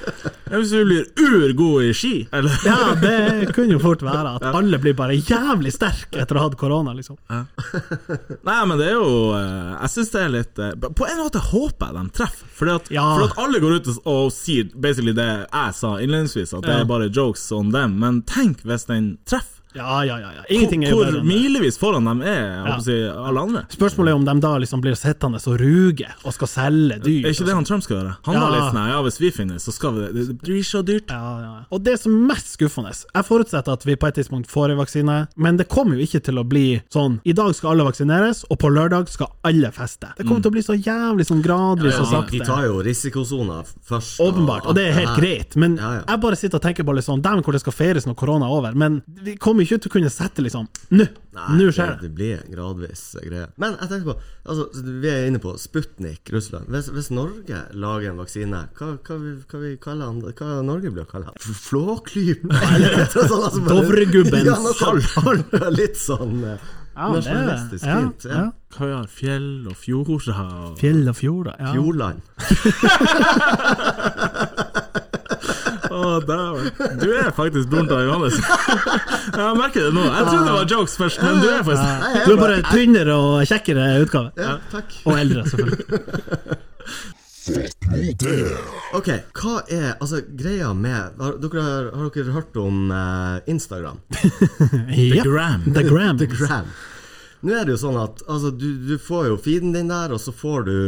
Ja, Hvis du blir urgod i ski, eller Ja, det kunne jo fort være at alle blir bare jævlig sterke etter å ha hatt korona, liksom. Nei, men det er jo eh, Jeg syns det er litt eh, På en måte håper jeg de treffer, fordi at, Ja. fordi at alle går ut og, og sier basically det jeg sa innledningsvis, at det Ja. er bare jokes on them, men tenk hvis den treffer. Ja, ja, ja. ja. Ingenting er jo hvor bedre enn det. milevis foran dem er jeg Ja. håper å si, alle andre. Spørsmålet er om de da liksom blir sittende og ruge og skal selge dyr. sånn. Er ikke det han Trump skal gjøre? Han var Ja. litt sånn "Nei, Ja, hvis vi finner det, så skal vi det. Det blir så dyrt. Ja, ja. ja. Og det som er mest skuffende Jeg forutsetter at vi på et tidspunkt får en vaksine, men det kommer jo ikke til å bli sånn I dag skal alle vaksineres, og på lørdag skal alle feste. Det kommer til Mm. å bli så jævlig sånn gradvis og De, de sakte. tar jo risikosoner først. Åpenbart, og det er helt Ja. greit, men Ja, ja. jeg bare sitter og tenker på litt sånn Dæven, hvor det skal feires når korona er over, men vi kommer ikke til å kunne sette liksom Nå! Nei, Nå skjer det! Det blir gradvis greie. Men jeg tenker på altså, Vi er inne på Sputnik, Russland. Hvis, hvis Norge lager en vaksine, hva, hva, vi, hva vi kaller han Hva Norge blir å kalle han? Flåklypa? Eller noe sånt, altså, bare- Dovregubbens Ja, noe sånt. Litt sånn eh, Ja, men det er det. nasjonalistisk Ja, fint. Ja. ja. Hva vi har Fjell og fjorder og Fjell og fjorder. Ja. Fjordland. Å, dæven. Du er faktisk broren til Johannes. Jeg merker det nå. Jeg trodde det var jokes først, men du er faktisk Nei, jeg Du er bare tynnere og kjekkere utgave. Ja, takk. Og eldre, selvfølgelig. Ok, hva er altså greia med Har dere, har dere hørt om eh, Instagram? Ja. gram. The Gram. The Gram. Nå er det jo sånn at altså, du, du får jo feeden din der, og så får du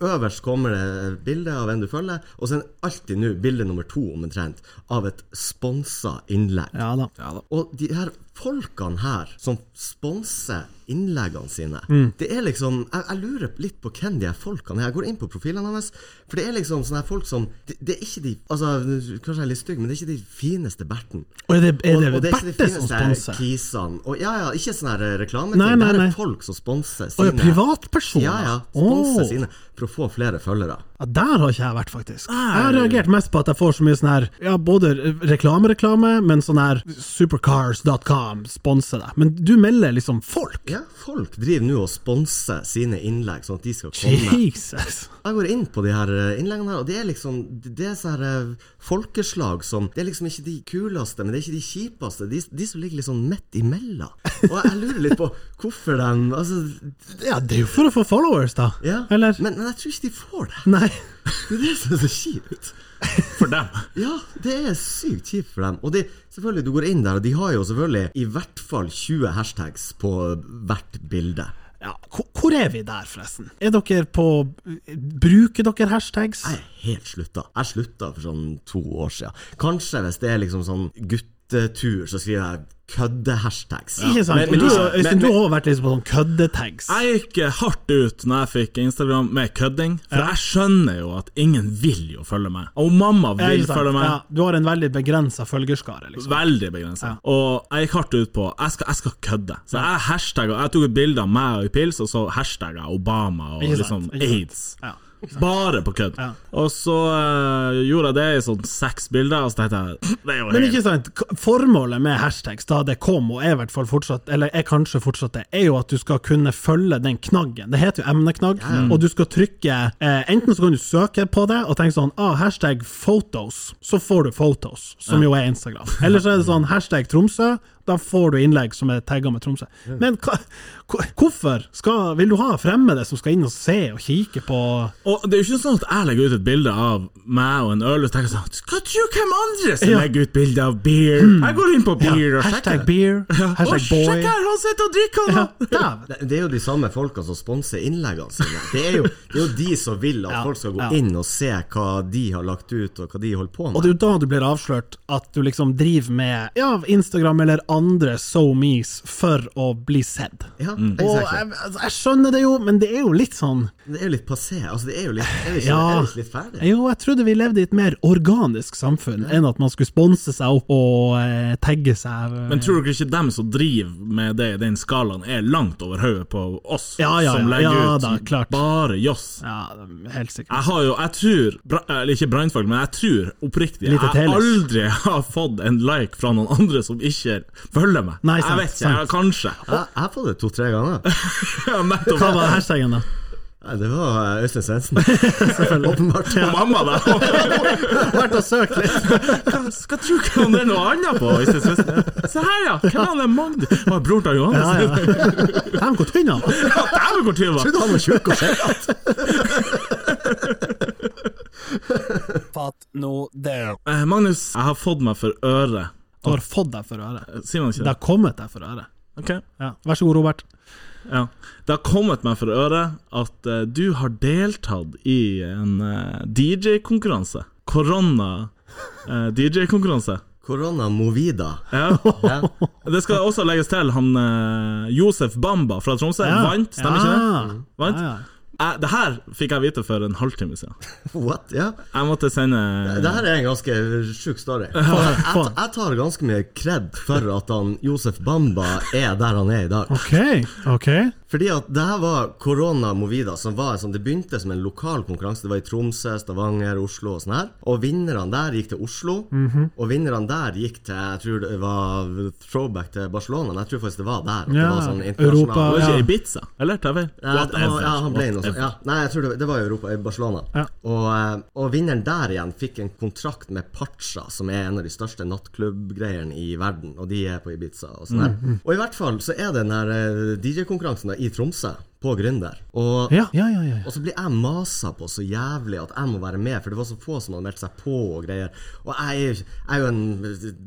Øverst kommer det bilde av en du følger, og så er det alltid nå bilde nummer to, omtrent, av et sponsa innlegg. Ja da. Og de her folkene her som sponser innleggene sine Det er liksom jeg, jeg lurer litt på hvem de her folkene er. Jeg går inn på profilene hans, for det er liksom sånne her folk som det, det er ikke de Altså, kanskje jeg er litt stygg, men det er ikke de fineste berten. Og er det, er det, Og- og er ikke de Berte som fineste sponser? Kisene. Og, ja, ja, ikke sånn her reklame. Nei, nei, det her nei. er folk som sponser Å sine ja, privatpersoner? Ja, ja. Sponser Å. sine for å få flere følgere. Ja, der har ikke jeg vært, faktisk. Jeg har reagert mest på at jeg får så mye sånn her Ja, både reklame-reklame, men sånn her Supercars.com sponser deg. Men du melder liksom folk! Ja, folk driver nå og sponser sine innlegg, sånn at de skal komme. Jesus! Jeg går inn på de her eh, innleggene her, og det er liksom Det er sånne her, eh, folkeslag som Det er liksom ikke de kuleste, men det er ikke de kjipeste. De, de som ligger litt sånn midt imellom. Og jeg lurer litt på hvorfor de Altså, Ja, det er jo for å få followers, da. ja. Eller? Men, men jeg tror ikke de får det. Nei. Det er det som er så kjipt. For dem. Ja, det er sykt kjipt for dem. Og det, selvfølgelig, du går inn der, og de har jo selvfølgelig i hvert fall 20 hashtags på hvert bilde. Ja, hvor- hvor er vi der, forresten? Er dere på Bruker dere hashtags? Jeg er helt slutta. Jeg slutta for sånn to år siden. Kanskje hvis det er liksom sånn guttetur, så skriver jeg kødde-hashtags. Ikke sant? men- men du, ikke- Øystein, men- du har også vært litt på sånn køddetags. Jeg gikk eh, hardt ut når jeg fikk Instagram med kødding, for jeg skjønner jo at ingen vil jo følge meg. Og mamma Ja, vil ikke sant? følge meg. Ja, du har en veldig begrensa følgerskare, liksom. Veldig begrensa. Og jeg gikk hardt ut på jeg skal, jeg skal kødde. Så jeg hashtagga Jeg tok et bilde av meg og i pils, og så hashtagga jeg Obama og Ikke liksom sant, ikke sant. aids. Ja. Bare på kødd. Ja. Og så eh, gjorde jeg det i sånn seks bilder, og så tenkte jeg Det er jo Men helt ikke sant, k- formålet med hashtags da det kom, og er i hvert fall fortsatt, eller er kanskje fortsatt det, er jo at du skal kunne følge den knaggen. Det heter jo emneknagg, og du skal trykke eh, Enten så kan du søke på det og tenke sånn ah, hashtag photos, så får du photos, som jo er Instagram. Eller så er det sånn hashtag Tromsø, da får du innlegg som er tagga med Tromsø. Men hva, hva- hvorfor skal, vil du ha fremmede som skal inn og se og kikke på Og det er jo ikke sånn at jeg legger ut et bilde av meg og en øl og tenker sånn Skal tro hvem andre som Ja. Mm. legger ut bilde av beer? Jeg går inn på beer og sjekker. Hashtag beer, Å, hashtag boy. sjekk her, han sitter og drikker! Ja, han. dæven. Det, det er jo de samme folka som sponser innleggene sine. Det er jo, det er jo de som vil at Ja, folk skal gå ja. inn og se hva de har lagt ut, og hva de holder på med. Og det er jo da du blir avslørt at du liksom driver med ja, Instagram eller andre SoMes for å bli sett. ja, Og exactly. jeg, altså, jeg skjønner det jo, men det er jo litt sånn Det er jo litt passé. Altså, det er jo litt, er det ikke, Ja. er det ikke litt ferdig. Jo, jeg trodde vi levde i et mer organisk samfunn enn at man skulle sponse seg opp og eh, tagge seg. eh. Men tror dere ikke dem som driver med det i den skalaen, er langt over hodet på oss Ja, ja, som ja. legger Ja, ut da, klart. bare joss? Ja, helt sikkert. Ah. Jeg har jo, jeg tror, bra- eller ikke brannfolk, men jeg tror oppriktig Lite jeg teles. aldri har fått en like fra noen andre som ikke følger meg. Nei, sant, jeg vet ikke, sant. jeg, kanskje. Jeg jeg har fått det to-tre ganger. Ja, nettopp. Hva var hashtagen, da? Nei, det var eh, Øystein Svendsen. Åpenbart. Og mamma der. Vært og søkt litt. Hva- Skal tro hva han er noe annet på. hvis jeg synes- Se her, ja! Hvem er han der Magnus? Var broren til Ja, Johannes? ja. Dæven, hvor tynn han var! Ja, Dæven, hvor tynn han var! Trodde han var tjukk og skjegget. Fatt nå det. Eh, Magnus, jeg har fått meg for øret. Du har fått deg for øret. Sier man Det ikke det? har kommet deg for øret. Ok. Ja. Vær så god, Robert. Ja. Det har kommet meg for øret at eh, du har deltatt i en eh, DJ-konkurranse. Korona-DJ-konkurranse. Korona Movida. eh, ja. Ja. Det skal også legges til han eh, Josef Bamba fra Tromsø. Vant, stemmer ikke det? ikke Vant? Ja, ja. Jeg- det her fikk jeg vite for en halvtime siden. What? Ja. Jeg måtte sende eh, Det her er en ganske sjuk story. Jeg, jeg, jeg tar ganske mye kred for at han Josef Bamba er der han er i dag. Ok, ok. Fordi at det her var Corona Movida, som var en sånn, det begynte som en lokal konkurranse. Det var i Tromsø, Stavanger, Oslo og sånn her. Og vinnerne der gikk til Oslo. Mhm. Og vinnerne der gikk til Jeg tror det var throwback til Barcelona. men Jeg tror faktisk det var der. at det Ja, var sånn Det internasjonal Europa. var Ja. ikke Ibiza, eller? Tar jeg feil? Nei, det var- Whatever. ja, han ble noe sånt. Whatever. Ja. Nei, jeg tror det, det var i Europa, i Barcelona. Ja. Og, eh, og vinneren der igjen fikk en kontrakt med Pacha, som er en av de største nattklubbgreiene i verden. Og de er på Ibiza og sånn Mm, der. Og i hvert fall så er det den der eh, DJ-konkurransen da i Tromsø, på Gründer. Og Ja, ja, ja. ja. og så blir jeg masa på så jævlig at jeg må være med, for det var så få som hadde meldt seg på og greier. Og jeg er jo, jeg er jo en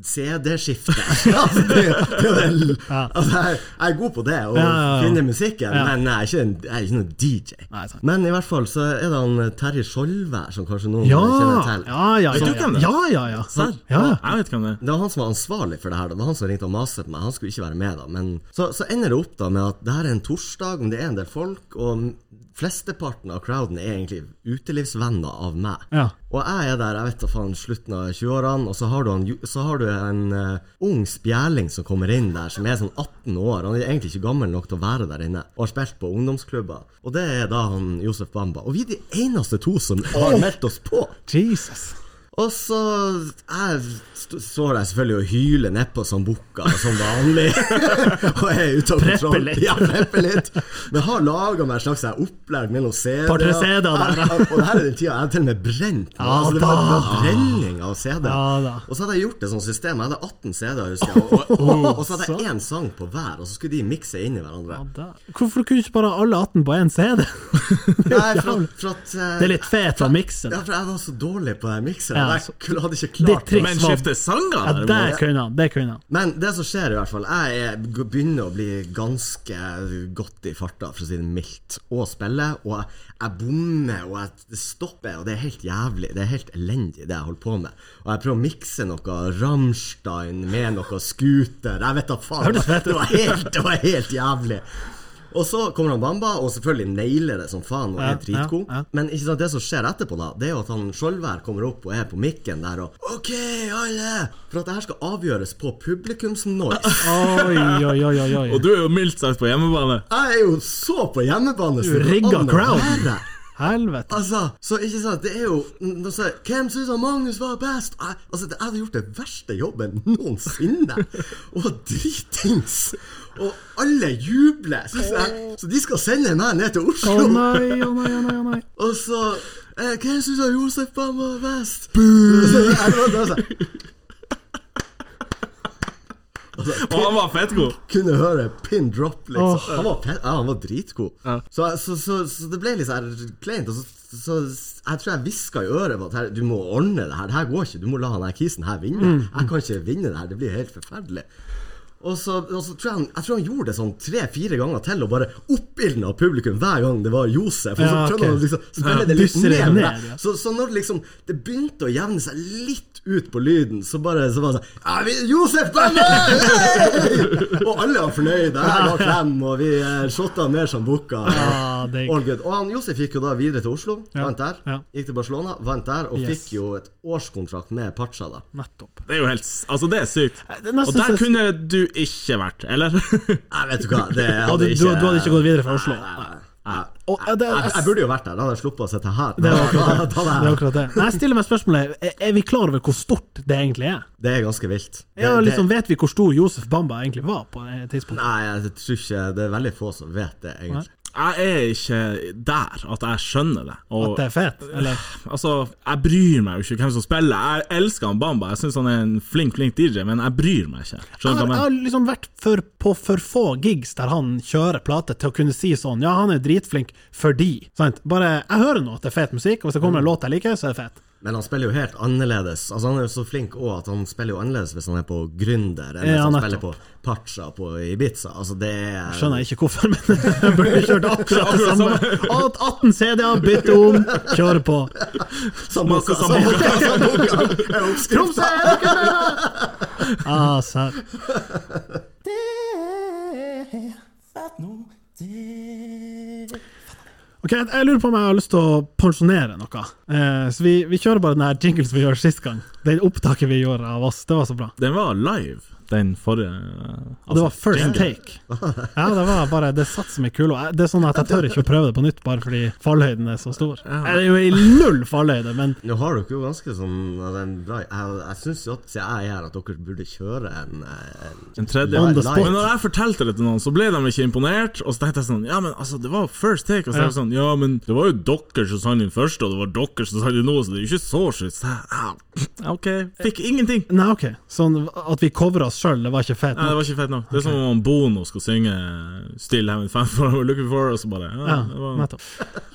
CD-skifter. altså, det, er jo- det er jo en- altså, jeg, jeg er god på det, og Ja, ja, ja. finner Ja. musikken, men jeg er ikke, en, jeg er ikke noen DJ. Nei, sant. men i hvert fall så er det han Terje Skjoldvær som kanskje noen Ja, kjenner til. ja, ja. Vet du ja, hvem det er? ja, ja, ja. Serr? ja. ja. Jeg vet hvem det er. Det var han som var ansvarlig for det her. da. Det var han som ringte og maste på meg. Han skulle ikke være med, da. Men så, så ender det opp da med at det her er en torsdag, men det er en del folk, og flesteparten av crowden er egentlig utelivsvenner av meg. Ja. Og jeg er der, jeg vet da faen, slutten av 20-årene, og så har du, han, Ju- så har du en eh, ung spjæling som kommer inn der, som er sånn 18 år. Han er egentlig ikke gammel nok til å være der inne, og har spilt på ungdomsklubber. Og det er da han Josef Bamba. Og vi er de eneste to som har meldt oss på! Jesus. Og så jeg st- står der selvfølgelig og hyler nedpå som bukka, som vanlig. og er ute av Prepper kontroll. litt. Ja, prepper litt. Men har laga meg et slags her opplegg med noen CD-er. Par-tre CD-er der, da. Og det her er den tida jeg har til og med brent. meg. Ja, altså, det var, det var da. brenning av CD-er. Ja, da. Oh, og så hadde jeg gjort et sånt system. Jeg hadde 18 CD-er, husker jeg. Og, og, og, og så hadde sånn. jeg én sang på hver, og så skulle de mikse inn i hverandre. Da. Hvorfor kunne du ikke bare ha alle 18 på én CD? Nei, for at, for at eh, Det er litt fet å mikse. Ja, det. for jeg var så dårlig på den mikseren. Ja, jeg så- kunne- hadde ikke Ditt klart det. triks Men var- skifte sanger, Ja, der derimot. kunne han. Det kunne han. Men det som skjer i hvert fall Jeg er, begynner å bli ganske godt i farta, for å si det mildt, og spille. Og jeg, jeg bommer, og jeg det stopper, og det er helt jævlig. Det er helt elendig, det jeg holder på med. Og jeg prøver å mikse noe Rammstein med noe scooter. Jeg vet da faen. Hørtes fett ut. Det var helt, det var helt jævlig. Og så kommer han Bamba, og selvfølgelig nailer det som faen og Ja, er dritgod. ja, ja. Men ikke sant, det som skjer etterpå, da Det er jo at han Skjoldvær kommer opp og er på mikken der og OK, alle! For at det her skal avgjøres på publikumsnoise. Oi, oi, oi, oi. oi. Og du er jo mildt sagt på hjemmebane. Jeg er jo så på hjemmebane! som Du det rigga kan å crowd. være. Helvete. Altså, så ikke sant, det er jo n- nå sier jeg, Hvem syns Magnus var best? Jeg- Altså, det- Jeg hadde gjort det verste jobben noensinne. Og dritings! Og alle jubler! Synes jeg. Så de skal sende meg ned til Å Oslo! nei, å nei, å nei. å nei. Og så eh, Hvem syns Josef Bam var best? Boo! Og han var fettgod. Kunne høre pin drop, liksom. Åh. Han, var pe- ja, han var dritgod. Så, så, så, så det ble litt sånn her kleint. Og så, så jeg tror jeg hviska i øret på at her, du må ordne det her. Det her går ikke. Du må la han her kisen her vinne. Mm. Jeg kan ikke vinne det her. Det blir helt forferdelig. Og så, og så tror jeg, han, jeg tror han gjorde det sånn tre-fire ganger til, og bare oppildna publikum hver gang det var Josef. Og så Ja, prøvde ok. han å liksom spille Ja, det litt dysser det ned. ned, da. ja. Så, så når det liksom det begynte å jevne seg litt ut på lyden, så bare så var det sånn «Ja, vi- Josef Bømme! Hey!» og alle var fornøyde. Jeg ga klem, og vi eh, shotta mer som bukka. Ja, det er- All good. Og han Josef gikk jo da videre til Oslo, Ja, vant der. ja. Gikk til Barcelona, vant der, og Yes. fikk jo et årskontrakt med Pacha, da. Nettopp. Det er jo helt s- Altså, det er sykt. det er nesten Og der så- kunne du ikke vært, eller? Nei, vet du hva, det Ja, du, du, du hadde ikke gått videre fra Oslo? Nei, nei, nei. Og, eh, det, Jeg, jeg burde jo vært der, da hadde jeg sluppet å sitte her. det er akkurat Da- det. da- da- da- det, er akkurat det. Nei, jeg stiller meg spørsmålet er, er vi klar over hvor stort det egentlig er? Det er ganske vilt. Det- Ja, det- liksom Vet vi hvor stor Josef Bamba egentlig var på det tidspunktet? Nei, jeg tror ikke Det er veldig få som vet det, egentlig. Jeg er ikke der at jeg skjønner det. Og, At det er fett? Eller? Altså, jeg bryr meg jo ikke hvem som spiller. Jeg elsker han Bamba, jeg syns han er en flink, flink DJ, men jeg bryr meg ikke. Jeg har, jeg Skjønner du hva jeg mener? har liksom vært for, på for få gigs der han kjører plate til å kunne si sånn Ja, han er dritflink fordi sant? Bare, Jeg hører nå at det er fet musikk, og hvis det kommer en låt jeg liker, så er det fett. Men han spiller jo helt annerledes. Altså Han er jo så flink også at han spiller jo annerledes hvis han er på Gründer, eller hvis Ja, han nettopp. spiller på Pacha på Ibiza. Altså, det er Skjønner jeg ikke hvorfor, men jeg burde kjørt akkurat det samme. Alt 18 CD-er, bytte om, kjøre på. Sambuca, Sambuca. Sambuca, Sambuca. er Tromsø, oppskriften. er dere med meg? Ah, serr. Ok, jeg jeg lurer på om jeg har lyst til å pensjonere noe. Eh, så vi, vi kjører bare den her jingle som vi gjorde sist gang. Det opptaket vi gjorde av oss, det var så bra. Den var live, den forrige eh, Og det var Altså, first take. Ja, det var bare Det satt som ei kule. og jeg- Det er sånn at jeg tør ikke å prøve det på nytt, bare fordi fallhøyden er så stor. Det er jo i null fallhøyde, men Nå har dere jo ganske sånn ja, det er en bra Jeg, jeg syns jo at siden jeg er her, at dere burde kjøre en, eh, en Den tredje. On the live. spot. Men når jeg fortalte det til noen, så ble de ikke imponert. Og så tenkte jeg sånn Ja, men altså, det var first take. Og så tenkte jeg sånn Ja, men det var jo dere som sang den første, og det var dere som sang den nå, så det er jo ikke så sjukt. Så jeg, ja, OK. Fikk ingenting. Nei, ok. Sånn at vi covra oss sjøl, det var ikke fett. Nei, det var ikke fett nok. Det er som om Bono skal synge 'Still Heaven Fan for What We're Looking For', og så bare ja, Ja, det var, nettopp.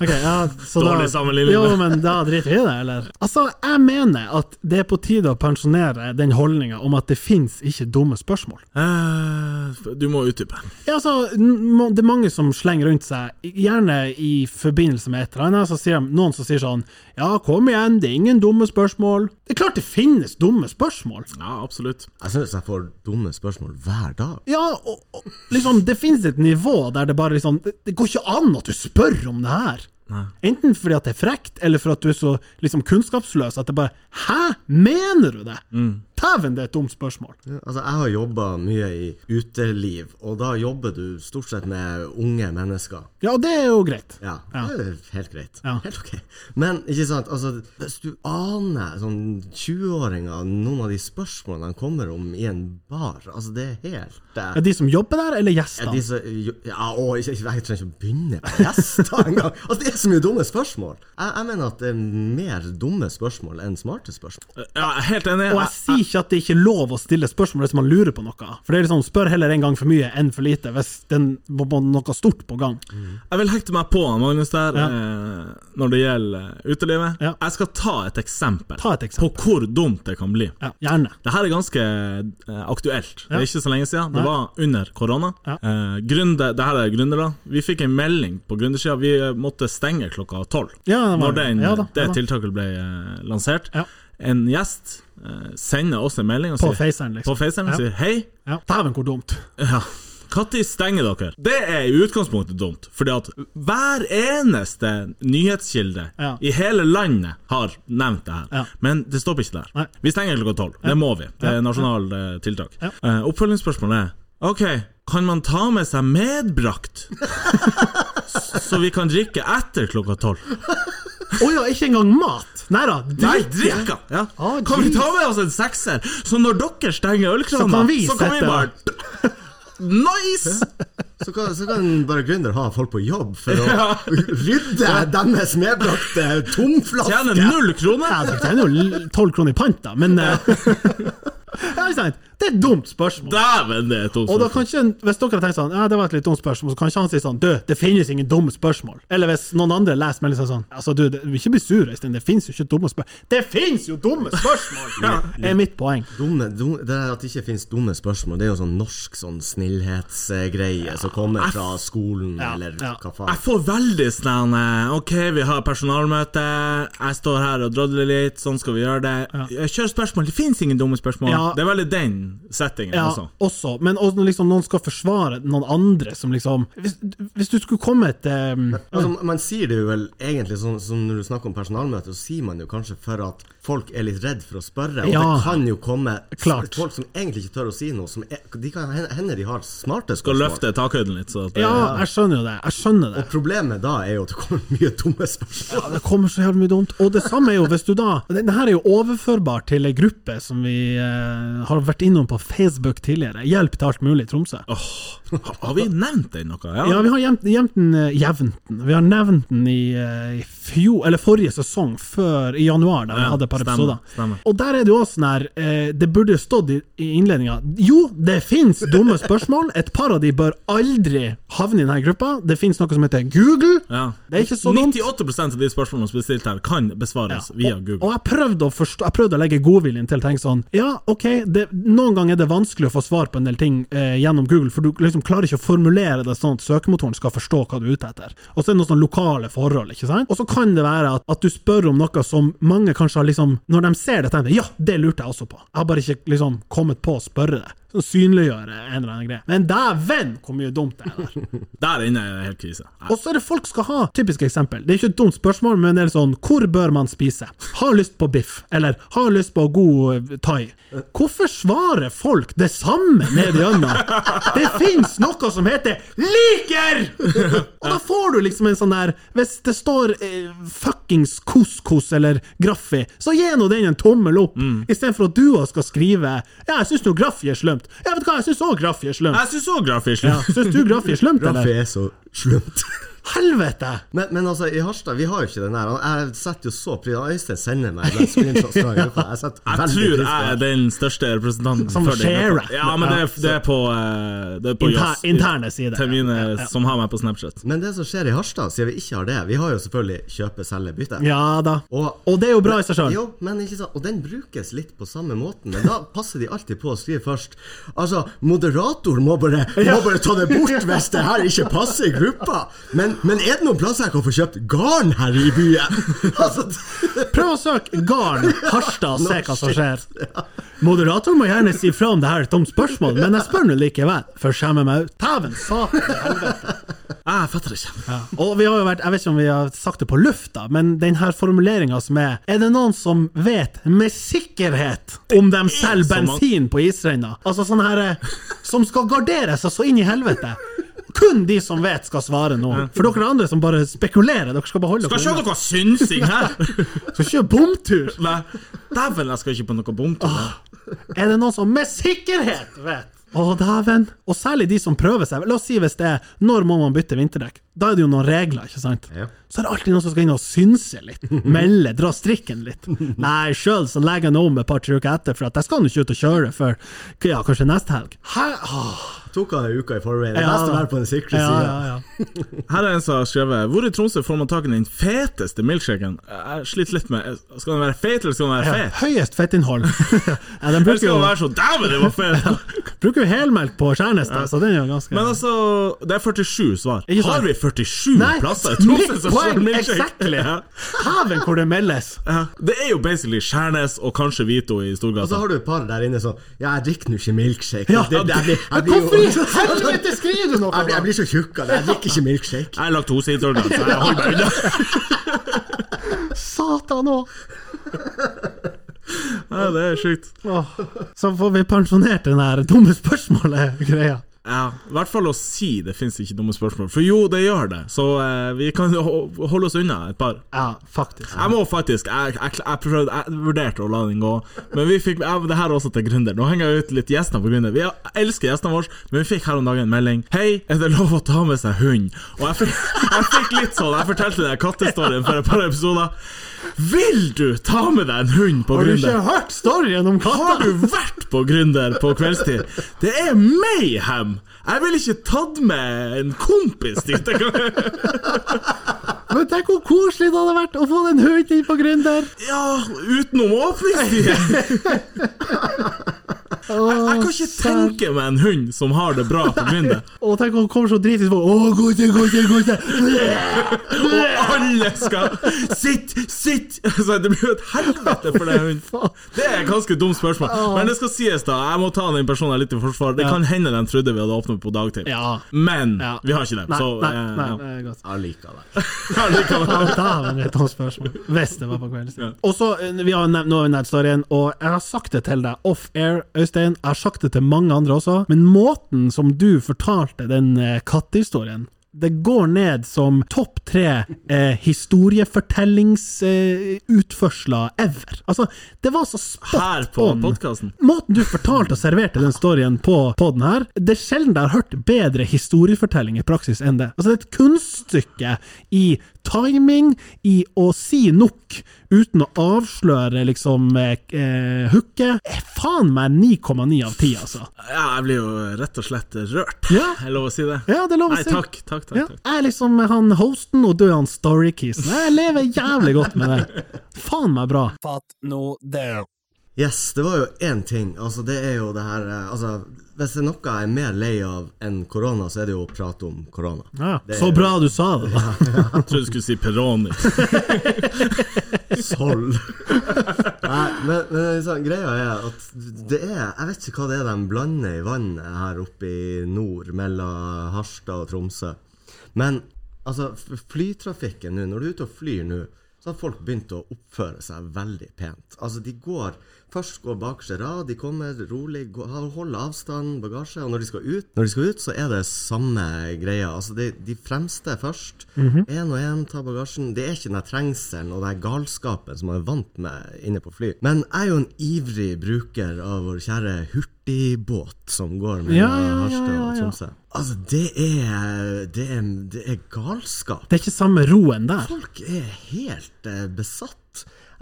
Ok, ja, så Dårlig da, sammenligning. jo, men da driter vi i det, eller? Altså, jeg mener at det er på tide å pensjonere den holdninga om at det fins ikke dumme spørsmål. Eh, Du må utdype. Ja, altså, n- må- det er mange som slenger rundt seg, gjerne i forbindelse med et eller annet, så sier de, noen som sier sånn Ja, kom igjen, det er ingen dumme spørsmål. Det er klart det finnes dumme spørsmål! Ja, absolutt. Jeg syns jeg får dumme spørsmål hver dag. Ja, og, og liksom, det finnes et nivå der det bare liksom Det, det går ikke an at du spør om det her! Enten fordi at det er frekt, eller for at du er så liksom kunnskapsløs at det bare Hæ, mener du det?! Dæven, det er et dumt spørsmål! Mm. Ja, Altså, jeg har jobba mye i uteliv, og da jobber du stort sett med unge mennesker. Ja, og det er jo greit. Ja, Ja. det er helt greit. Ja. Helt ok. Men ikke sant, altså, hvis du aner sånn 20-åringer noen av de spørsmålene de kommer om i en bar, altså det er helt eh, Er de som jobber der, eller ja, gjestene? de som, ja, å, ikke, ikke- jeg trenger ikke å begynne på gjester engang! Altså, det er så mye dumme spørsmål! Jeg, jeg mener at det er mer dumme spørsmål enn smarte spørsmål. Ja, jeg er helt enig. Og jeg sier ikke at det ikke er lov å stille spørsmål hvis man lurer på noe. For det er liksom, Spør heller en gang for mye enn for lite, hvis det er noe stort på gang. Jeg vil hekte meg på han, Magnus der eh, når det gjelder utelivet. Ja. Jeg skal ta et eksempel, Ta et eksempel. på hvor dumt det kan bli. Ja, gjerne. Dette er ganske eh, aktuelt. Det Ja. er ikke så lenge siden. Det Nei. var under korona. Ja. Eh, gründer, det her er gründere. Vi fikk en melding på gründersida. Vi eh, måtte stenge klokka tolv. Ja, det var- når den, ja da, det ja da. tiltaket ble eh, lansert. Ja. En gjest eh, sender oss en melding og På sier, Faceren, liksom. på Faceren Ja. og sier hei. Ja. Dæven, hvor dumt. Ja. Når stenger dere? Det er i utgangspunktet dumt, fordi at hver eneste nyhetskilde Ja. i hele landet har nevnt det her. Ja. Men det stopper ikke der. Nei. Vi stenger klokka tolv. Det må vi. Det Ja. er nasjonalt eh, tiltak. Ja. Eh, oppfølgingsspørsmålet er OK, kan man ta med seg medbrakt? S- Så vi kan drikke etter klokka tolv. Å ja, ikke engang mat! Nei da, Nei, dritt! drikka! Ja. Å, kan Ah, vi jeez. ta med oss en sekser? Så når dere stenger Så kan ølkrana, vi så kan vi sette- bare Nice! Så kan, så kan bare gründer ha folk på jobb for å rydde deres medbrakte tomflaske! Tjener null kroner. Ja, det er jo tolv kroner i pant, da, men eh, ja, ikke sant? Det er et dumt spørsmål. Dæven, det er et Og da kan ikke, Hvis dere tenker sånn, ja, det var et litt dumt spørsmål, så kan ikke han si sånn Du, det finnes ingen dumme spørsmål. Eller hvis noen andre leser meldingen sånn Altså, du, det, ikke bli sur, Øystein. Det finnes jo ikke dumme spørsmål. Det finnes jo dumme spørsmål! Ja, er mitt poeng. Dumme, dum- det der at det ikke finnes dumme spørsmål, det er jo sånn norsk sånn snillhetsgreie som kommer fra skolen, Ja, eller ja. hva Jeg faen. får veldig sånn eh, OK, vi har personalmøte. Jeg står her og drodler litt. Sånn skal vi gjøre det. Eh, Kjør spørsmål. Det fins ingen dumme spørsmål. Ja. Det er veldig den settingen altså. Ja, også. også. Men også når liksom noen skal forsvare noen andre som liksom Hvis, hvis du skulle kommet um, Altså, man sier det jo vel egentlig sånn som når du snakker om personalmøte, så sier man jo kanskje for at folk er litt redd for å spørre. Og Ja. det kan jo komme Klart. folk som egentlig ikke tør å si noe. Som er, de kan hende de har smarte Skal spørsmål. løfte takhøyden litt. Så at eh, det, Ja, jeg skjønner jo det. Jeg skjønner det. Problemet da er jo at det kommer mye dumme spørsmål. Ja, det kommer så jævlig mye dumt. Og det samme er jo hvis du da Denne her er jo overførbar til ei gruppe som vi eh, har vært innom på Facebook tidligere. Hjelp til alt mulig i Tromsø. Åh, har vi nevnt den noe? Ja. Ja, vi har gjemt, gjemt den eh, jevnt den. Vi har nevnt den i, eh, i fjor, eller forrige sesong, før i januar, da vi Ja, hadde et par stemmer, episoder. stemmer. Og der er det jo også sånn her eh, Det burde stått i, i innledninga Jo, det fins dumme spørsmål. Et par av de bør aldri havne i denne gruppa. Det fins noe som heter Google. Ja. Det er ikke så dumt. 98 av de spørsmålene som blir stilt her, kan besvares via og, Google. og jeg prøvde å forstå Jeg prøvde å legge godviljen til å tenke sånn Ja, ok, det, noen ganger er det vanskelig å få svar på en del ting eh, gjennom Google, for du liksom klarer ikke å formulere det sånn at søkemotoren skal forstå hva du er ute etter. Og så er det noen sånne lokale forhold, ikke sant? Og så kan det være at, at du spør om noe som mange kanskje har liksom Når de ser det, tenker de Ja, det lurte jeg også på. Jeg har bare ikke liksom kommet på å spørre det. Sånn synliggjøre en eller annen greie. Men dæven, hvor mye dumt det er der! Der inne er det helt krise. Nei. Og så er det folk skal ha. Typisk eksempel. Det er ikke et dumt spørsmål, men det er sånn Hvor bør man spise? Har lyst på biff. Eller har lyst på god eh, thai. Hvorfor svarer folk det samme ned gjennom? Det fins noe som heter liker! Og da får du liksom en sånn der Hvis det står eh, fuckings couscous eller graffi, så gi nå den en tommel opp, istedenfor at du også skal skrive Ja, jeg syns nå graffi er slømt. Ja, vet du hva, jeg syns òg graffi er slømt. Jeg syns òg grafisk Ja, syns du graffi er slømt, Raffi eller? er så slumt. Helvete! Men, men altså, i Harstad, vi har jo ikke den der. Jeg setter jo så pris Øystein sender meg den screenshots fra gruppa. Jeg setter Jeg veldig tror pris på jeg er det. den største representanten Som for den share gruppa. it. Ja, men det er, det er på, eh, det er på Inter- Joss. interne sider. Til mine Ja, ja. som har meg på Snapchat. Men det som skjer i Harstad, siden vi ikke har det Vi har jo selvfølgelig kjøpe, selge, bytte. Ja da. Og- Og det er jo bra i seg sjøl. Jo, men ikke sant? Og den brukes litt på samme måten, men da passer de alltid på å skrive først. Altså, moderator må bare, må bare ta det bort hvis det her ikke passer i gruppa. Men, men er det noen plass jeg kan få kjøpt garn her i byen? Altså, det- Prøv å søke Garn Harstad og se hva som skjer. Moderator må gjerne si fra om det her er et dumt spørsmål, men jeg spør nå likevel, for jeg skjemmer meg ut. Dæven satan i helvete. Ah, Jeg fatter ikke. Og vi har jo vært, jeg vet ikke om vi har sagt det på lufta, men den her formuleringa som er Er det noen som vet med sikkerhet om de selger så mange- bensin på isrenna? Altså sånne her eh, som skal gardere seg så inn i helvete. Kun de som vet, skal svare nå. For dere andre som bare spekulerer, dere skal beholde Skal ikke ha noe synsing her! Skal ikke bomtur! Nei, Dæven, jeg skal ikke på noe bomtur. her. Er det noen som med sikkerhet vet? Å, dæven. Og særlig de som prøver seg. La oss si hvis det er når må man bytte vinterdekk. Da er det jo noen regler, ikke sant? Ja. Så er det alltid noen som skal inn og synse litt. Melde, dra strikken litt. Nei, sjøl så legger jeg nå om et par-tre uker etter, for at jeg skal nå ikke ut og kjøre før ja, kanskje neste helg. Hæ? Åh, tok han ei uke i forveien. Det er best å være på den sikre ja, sida. ja, ja. Her er en som har skrevet Hvor i Tromsø får man tak i den feteste milkshaken? Jeg sliter litt med Skal den være fet, eller skal den være ja. fet? Høyest fettinnhold. ja, den Eller bruker skal jo, den være så Dæven, det var fet! bruker jo helmelk på Skjærnestad, så den er jo ganske Men altså, det er 47 svar. Ikke sant? Har vi 47 Nei, plasser i Tromsø mitt som poeng, får milkshake? exactly. Ja. Haven hvor det meldes! Ja. Det er jo basically Skjærnes og kanskje Vito i Og så Storgata. har du et par der inne sånn Ja, jeg drikker nå ikke milkshake. Ja. Det- det- jeg blir- jeg Men blir jo- hvorfor i helvete skriver du noe? Jeg blir- jeg blir så tjukk av det. Jeg drikker ikke milkshake. Jeg er laktoseintolerant, så jeg holder meg unna. Satan òg! Ja, det er sjukt. Så får vi pensjonert den her dumme spørsmålet-greia. Ja, I hvert fall å si det fins ikke dumme spørsmål. For jo, det gjør det. Så eh, vi kan jo ho- holde oss unna et par. Ja, faktisk. Jeg må faktisk Jeg, jeg, jeg, prøvde, jeg vurderte å la den gå, men vi fikk jeg, Det her er også til gründer. Nå henger jeg ut litt gjester på gründer. Vi er- jeg elsker gjestene våre, men vi fikk her om dagen en melding. 'Hei, er det lov å ta med seg hund?' Og jeg fikk, jeg fikk litt sånn Jeg fortalte den kattestoryen for et par episoder. Vil du ta med deg en hund på Har du ikke gründer? hørt storyen om Har katta? du vært på Gründer på kveldstid? Det er mayhem! Jeg ville ikke tatt med en kompis dit engang. Men tenk hvor koselig det hadde vært å få den hund inn på Gründer! Ja, utenom åpningstid. Jeg, jeg kan ikke tenke meg en hund som har det bra på Grindr. Og tenk om hun kommer så dritings på Å, godte, godte, godte! Og alle skal Sitt! Sitt! Så det blir jo et helvete for den hunden. Det er et ganske dumt spørsmål. Men det skal sies, da. Jeg må ta den personen litt i forsvar. Det kan hende de trodde vi hadde åpnet på dagtid, Ja. men Ja. vi har ikke det. Nei, Så nei, eh, nei, ja. det er godt. Allikevel. Ja, det kan- Ja, Dæven, det er et dumt spørsmål. Hvis det var på kveldstid. Og så, eh, vi har nevnt, nå har vi nevnt storyen, og jeg har sagt det til deg off-air, Øystein. Jeg har sagt det til mange andre også, men måten som du fortalte den eh, kattehistorien det går ned som topp tre eh, historiefortellingsutførsler eh, utførsler ever. Altså, det var så spot Her på on. podkasten. Måten du fortalte og serverte den storyen på podden her, det er sjelden jeg har hørt bedre historiefortelling i praksis enn det. Altså, det er et kunststykke i timing, i å si nok uten å avsløre liksom eh, eh, hooket. Eh, Faen meg 9,9 av 10, altså. Ja, jeg blir jo rett og slett rørt. Ja. Er det lov å si det? Ja, det er lov å Nei, si. takk. takk, takk, Ja, takk. jeg er liksom han hosten, og du er han storykisen. Jeg lever jævlig godt med det. Faen meg bra. Fatt nå det. Yes, det var jo én ting. Altså, det er jo det her eh, Altså, hvis det er noe jeg er mer lei av enn korona, så er det jo å prate om korona. Ja, Det så er- bra du sa det. da. Jeg trodde du skulle si Peroni. Solv. Nei, men, men liksom, greia er at det er Jeg vet ikke hva det er de blander i vannet her oppe i nord, mellom Harstad og Tromsø. Men altså, f- flytrafikken nå, når du er ute og flyr nå, så har folk begynt å oppføre seg veldig pent. Altså, de går Først går bakerste rad, de kommer rolig, går, holder avstand, bagasje. Og når de skal ut, når de skal ut så er det samme greia. Altså, de, de fremste først. Én Mhm. og én tar bagasjen. Det er ikke den der trengselen og den der galskapen som man er vant med inne på fly. Men jeg er jo en ivrig bruker av vår kjære hurtigbåt som går mellom Ja, ja, ja, Harstad ja, og ja. Tromsø. Altså, det er, det er, det er galskap. Det er ikke samme roen der. Folk er helt eh, besatt.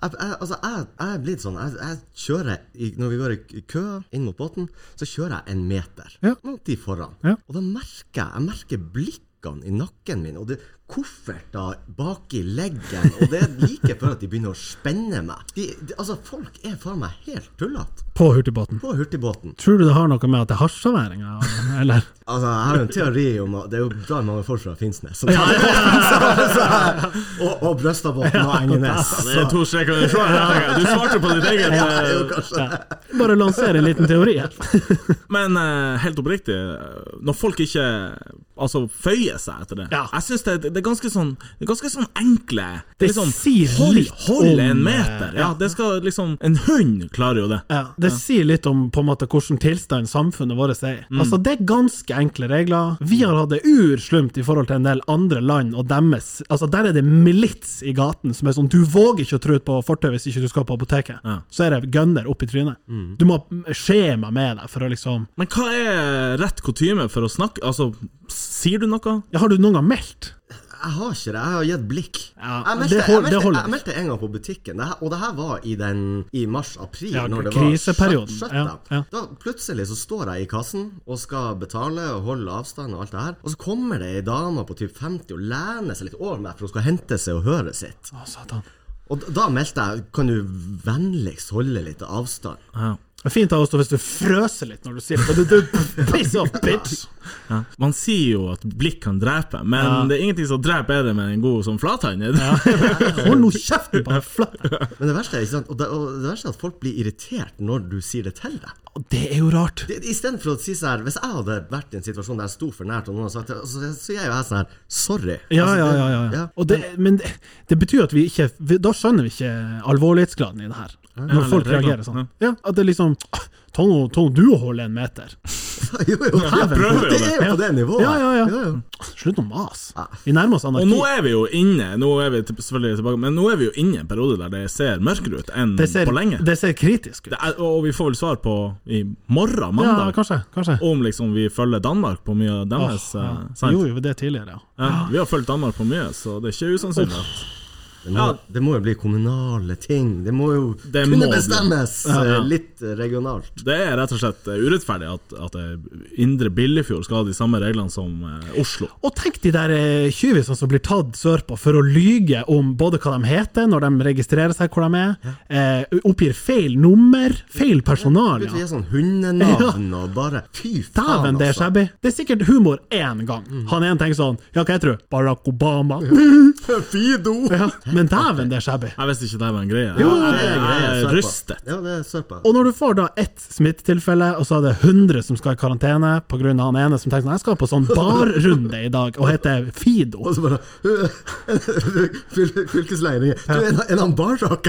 Jeg, jeg, altså, jeg, jeg er blitt sånn jeg, jeg kjører i, Når vi går i k- kø inn mot båten, så kjører jeg en meter Ja. mot de foran. Ja. Og da merker jeg jeg merker blikkene i nakken min, og det kofferter baki leggen, og det er like før at de begynner å spenne meg. De, de, altså, folk er faen meg helt tullete På hurtigbåten. på hurtigbåten. Tror du det har noe med at det er harstadværinger, eller? Altså, jeg har jo en teori om at det er jo bra mange folk fra Finnsnes. som- og og Brøstadbotn og Engenes. Det er to streker under sjøen. Du svarte på ditt eget. Ja, eh, det er jo kanskje det. Bare lansere en liten teori her. Men eh, helt oppriktig, eh, når folk ikke altså, føyer seg etter det Ja. Jeg syns det, det er ganske sånn Det er ganske sånn enkle Det er sånn, sier hold, litt om, hold en eh, meter! Ja, ja. det skal liksom En hund klarer jo det. Ja, det sier litt om på en måte hvilken tilstand samfunnet vårt er i. Altså, det er ganske enkle regler. Vi har hatt det urslumt i forhold til en del andre land og deres Altså, der er det milits i gaten som er sånn Du våger ikke å tro på fortauet hvis ikke du skal på apoteket. Ja. Så er det gunner opp i trynet. Du må ha skjema med deg for å liksom Men hva er rett kutyme for å snakke Altså, sier du noe? ja, Har du noen gang meldt? Jeg har ikke det. Jeg har gitt blikk. Ja, jeg, meldte, det hold- jeg, det holder meldte, jeg meldte en gang på butikken, det her, og det her var i, den- i mars-april. Ja, når det kriseperioden. Var shut, Ja, ja. Da plutselig så står jeg i kassen og skal betale og holde avstand og alt det her, og så kommer det ei dame på typ 50 og lener seg litt over meg for hun skal hente seg og høre sitt. Å, satan. Og da- da meldte jeg Kan du vennligst holde litt avstand? Ja. Det er fint av oss da hvis du frøser litt når du sier det. Du, du, piss off, bitch! Ja. Man sier jo at blikk kan drepe, men det er ingenting som dreper bedre med en god sånn flathånd. Hold nå kjeften på deg, flatt! Men det verste, er, ikke sant? Og det, og det verste er at folk blir irritert når du sier det til deg. Og det er jo rart. Det- Istedenfor å si sånn her Hvis jeg hadde vært i en situasjon der jeg sto for nært, og noen hadde sagt det, så så gjør jo jeg sånn her Sorry. Ja, Altså, ja, det- ja. ja, ja. Og det, men det, det betyr at vi ikke vi, Da skjønner vi ikke alvorlighetsgraden i det her. Når eller folk reglene, reagerer sånn. Ja, At det liksom «Ah, Ta nå ta nå du og hold en meter. jo, jo, prøver jo det er jo på det nivået. Ja, ja, ja. Jo, jo. Slutt å mase. Vi nærmer oss Og anarki. nå er vi jo inne Nå er vi til- selvfølgelig tilbake Men nå er vi jo inne i en periode der det ser mørkere ut enn Det ser, på lenge. det ser kritisk ut. Det er, og vi får vel svar på i morgen, Ja, mandag. kanskje. kanskje. om liksom vi følger Danmark på mye av Åh, deres eh, ja. sant? Jo, jo, det tidligere, ja. Ja, vi har fulgt Danmark på mye, så det er ikke usannsynlig. at- Det må, Ja. det må jo bli kommunale ting. Det må jo Det kunne må bli. bestemmes Ja, ja. eh, litt regionalt. Det er rett og slett eh, urettferdig at, at eh, Indre Billefjord skal ha de samme reglene som eh, Oslo. Og tenk de der eh, tjuvisene som blir tatt sørpå for å lyge om både hva de heter, når de registrerer seg hvor de er, eh, oppgir feil nummer, feil personal. Begynte å Ja. gi sånn hundenavn og bare Fy faen, Dæven, det er altså. shabby. Det er sikkert humor én gang. Han ene tenker sånn Ja, hva heter du? Barack Obama. Fido! Ja. Men dæven, det er shabby. Jeg visste ikke det var en greie. Jo, Jeg- det er greia. jeg er sørpå. rystet. Ja, det er sørpa. Og når du får da ett smittetilfelle, og så er det 100 som skal i karantene pga. han ene som tenker sånn Jeg skal på sånn barrunde i dag og heter Fido. Og så bare Fyl- Fylkeslegen ringer. Du, er det en han Barack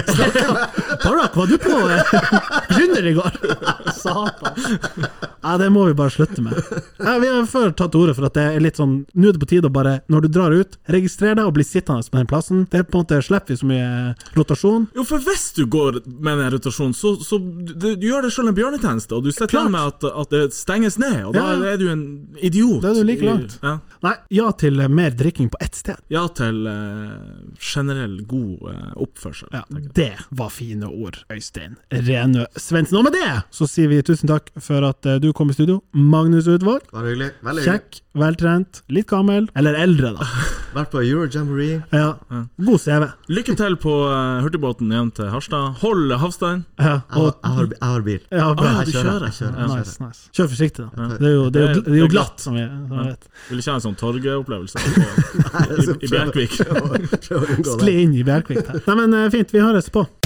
jeg snakker med? Barack, var du på eh, runder i går? Satan. Nei, det må vi bare slutte med. Nei, vi har før tatt til orde for at det er litt sånn Nå er det på tide å bare, når du drar ut, registrer deg og bli sittende på den plassen. Det er på en måte slipper vi så mye eh, rotasjon. Jo, for hvis du går med den rotasjonen, så, så du, du gjør deg selv en bjørnetjeneste, og du sitter Klart. igjen med at, at det stenges ned, og da Ja, ja. er du en idiot. Da er du like i- langt. Ja. Nei, ja til eh, mer drikking på ett sted. Ja til eh, generell god eh, oppførsel. Ja, tenker jeg. det var fine ord, Øystein Renø Svendsen. Og med det så sier vi tusen takk for at eh, du kom i studio. Magnus Udvåg. Bare hyggelig. Veldig hyggelig. Kjekk, veltrent, litt gammel. Eller eldre, da. Vært på Eurojamboree. Ja. God CV. Lykke til på eh, hurtigbåten hjem til Harstad. Hold havstand. Ja, Jeg har- og, jeg har, jeg har bil. ja, bra. Ah, Jeg du kjører. kjører. Jeg kjører. Jeg kjører. Nice, nice. Kjør forsiktig, da. Det er jo, det er jo, Det det er- er jo det er glatt, som vi som vi vet. Vil ikke ha en sånn torgeopplevelse på- i, i Bjerkvik. Prøv å unngå det. Skli inn i Bjerkvik der. Nei, men eh, fint, vi høres på.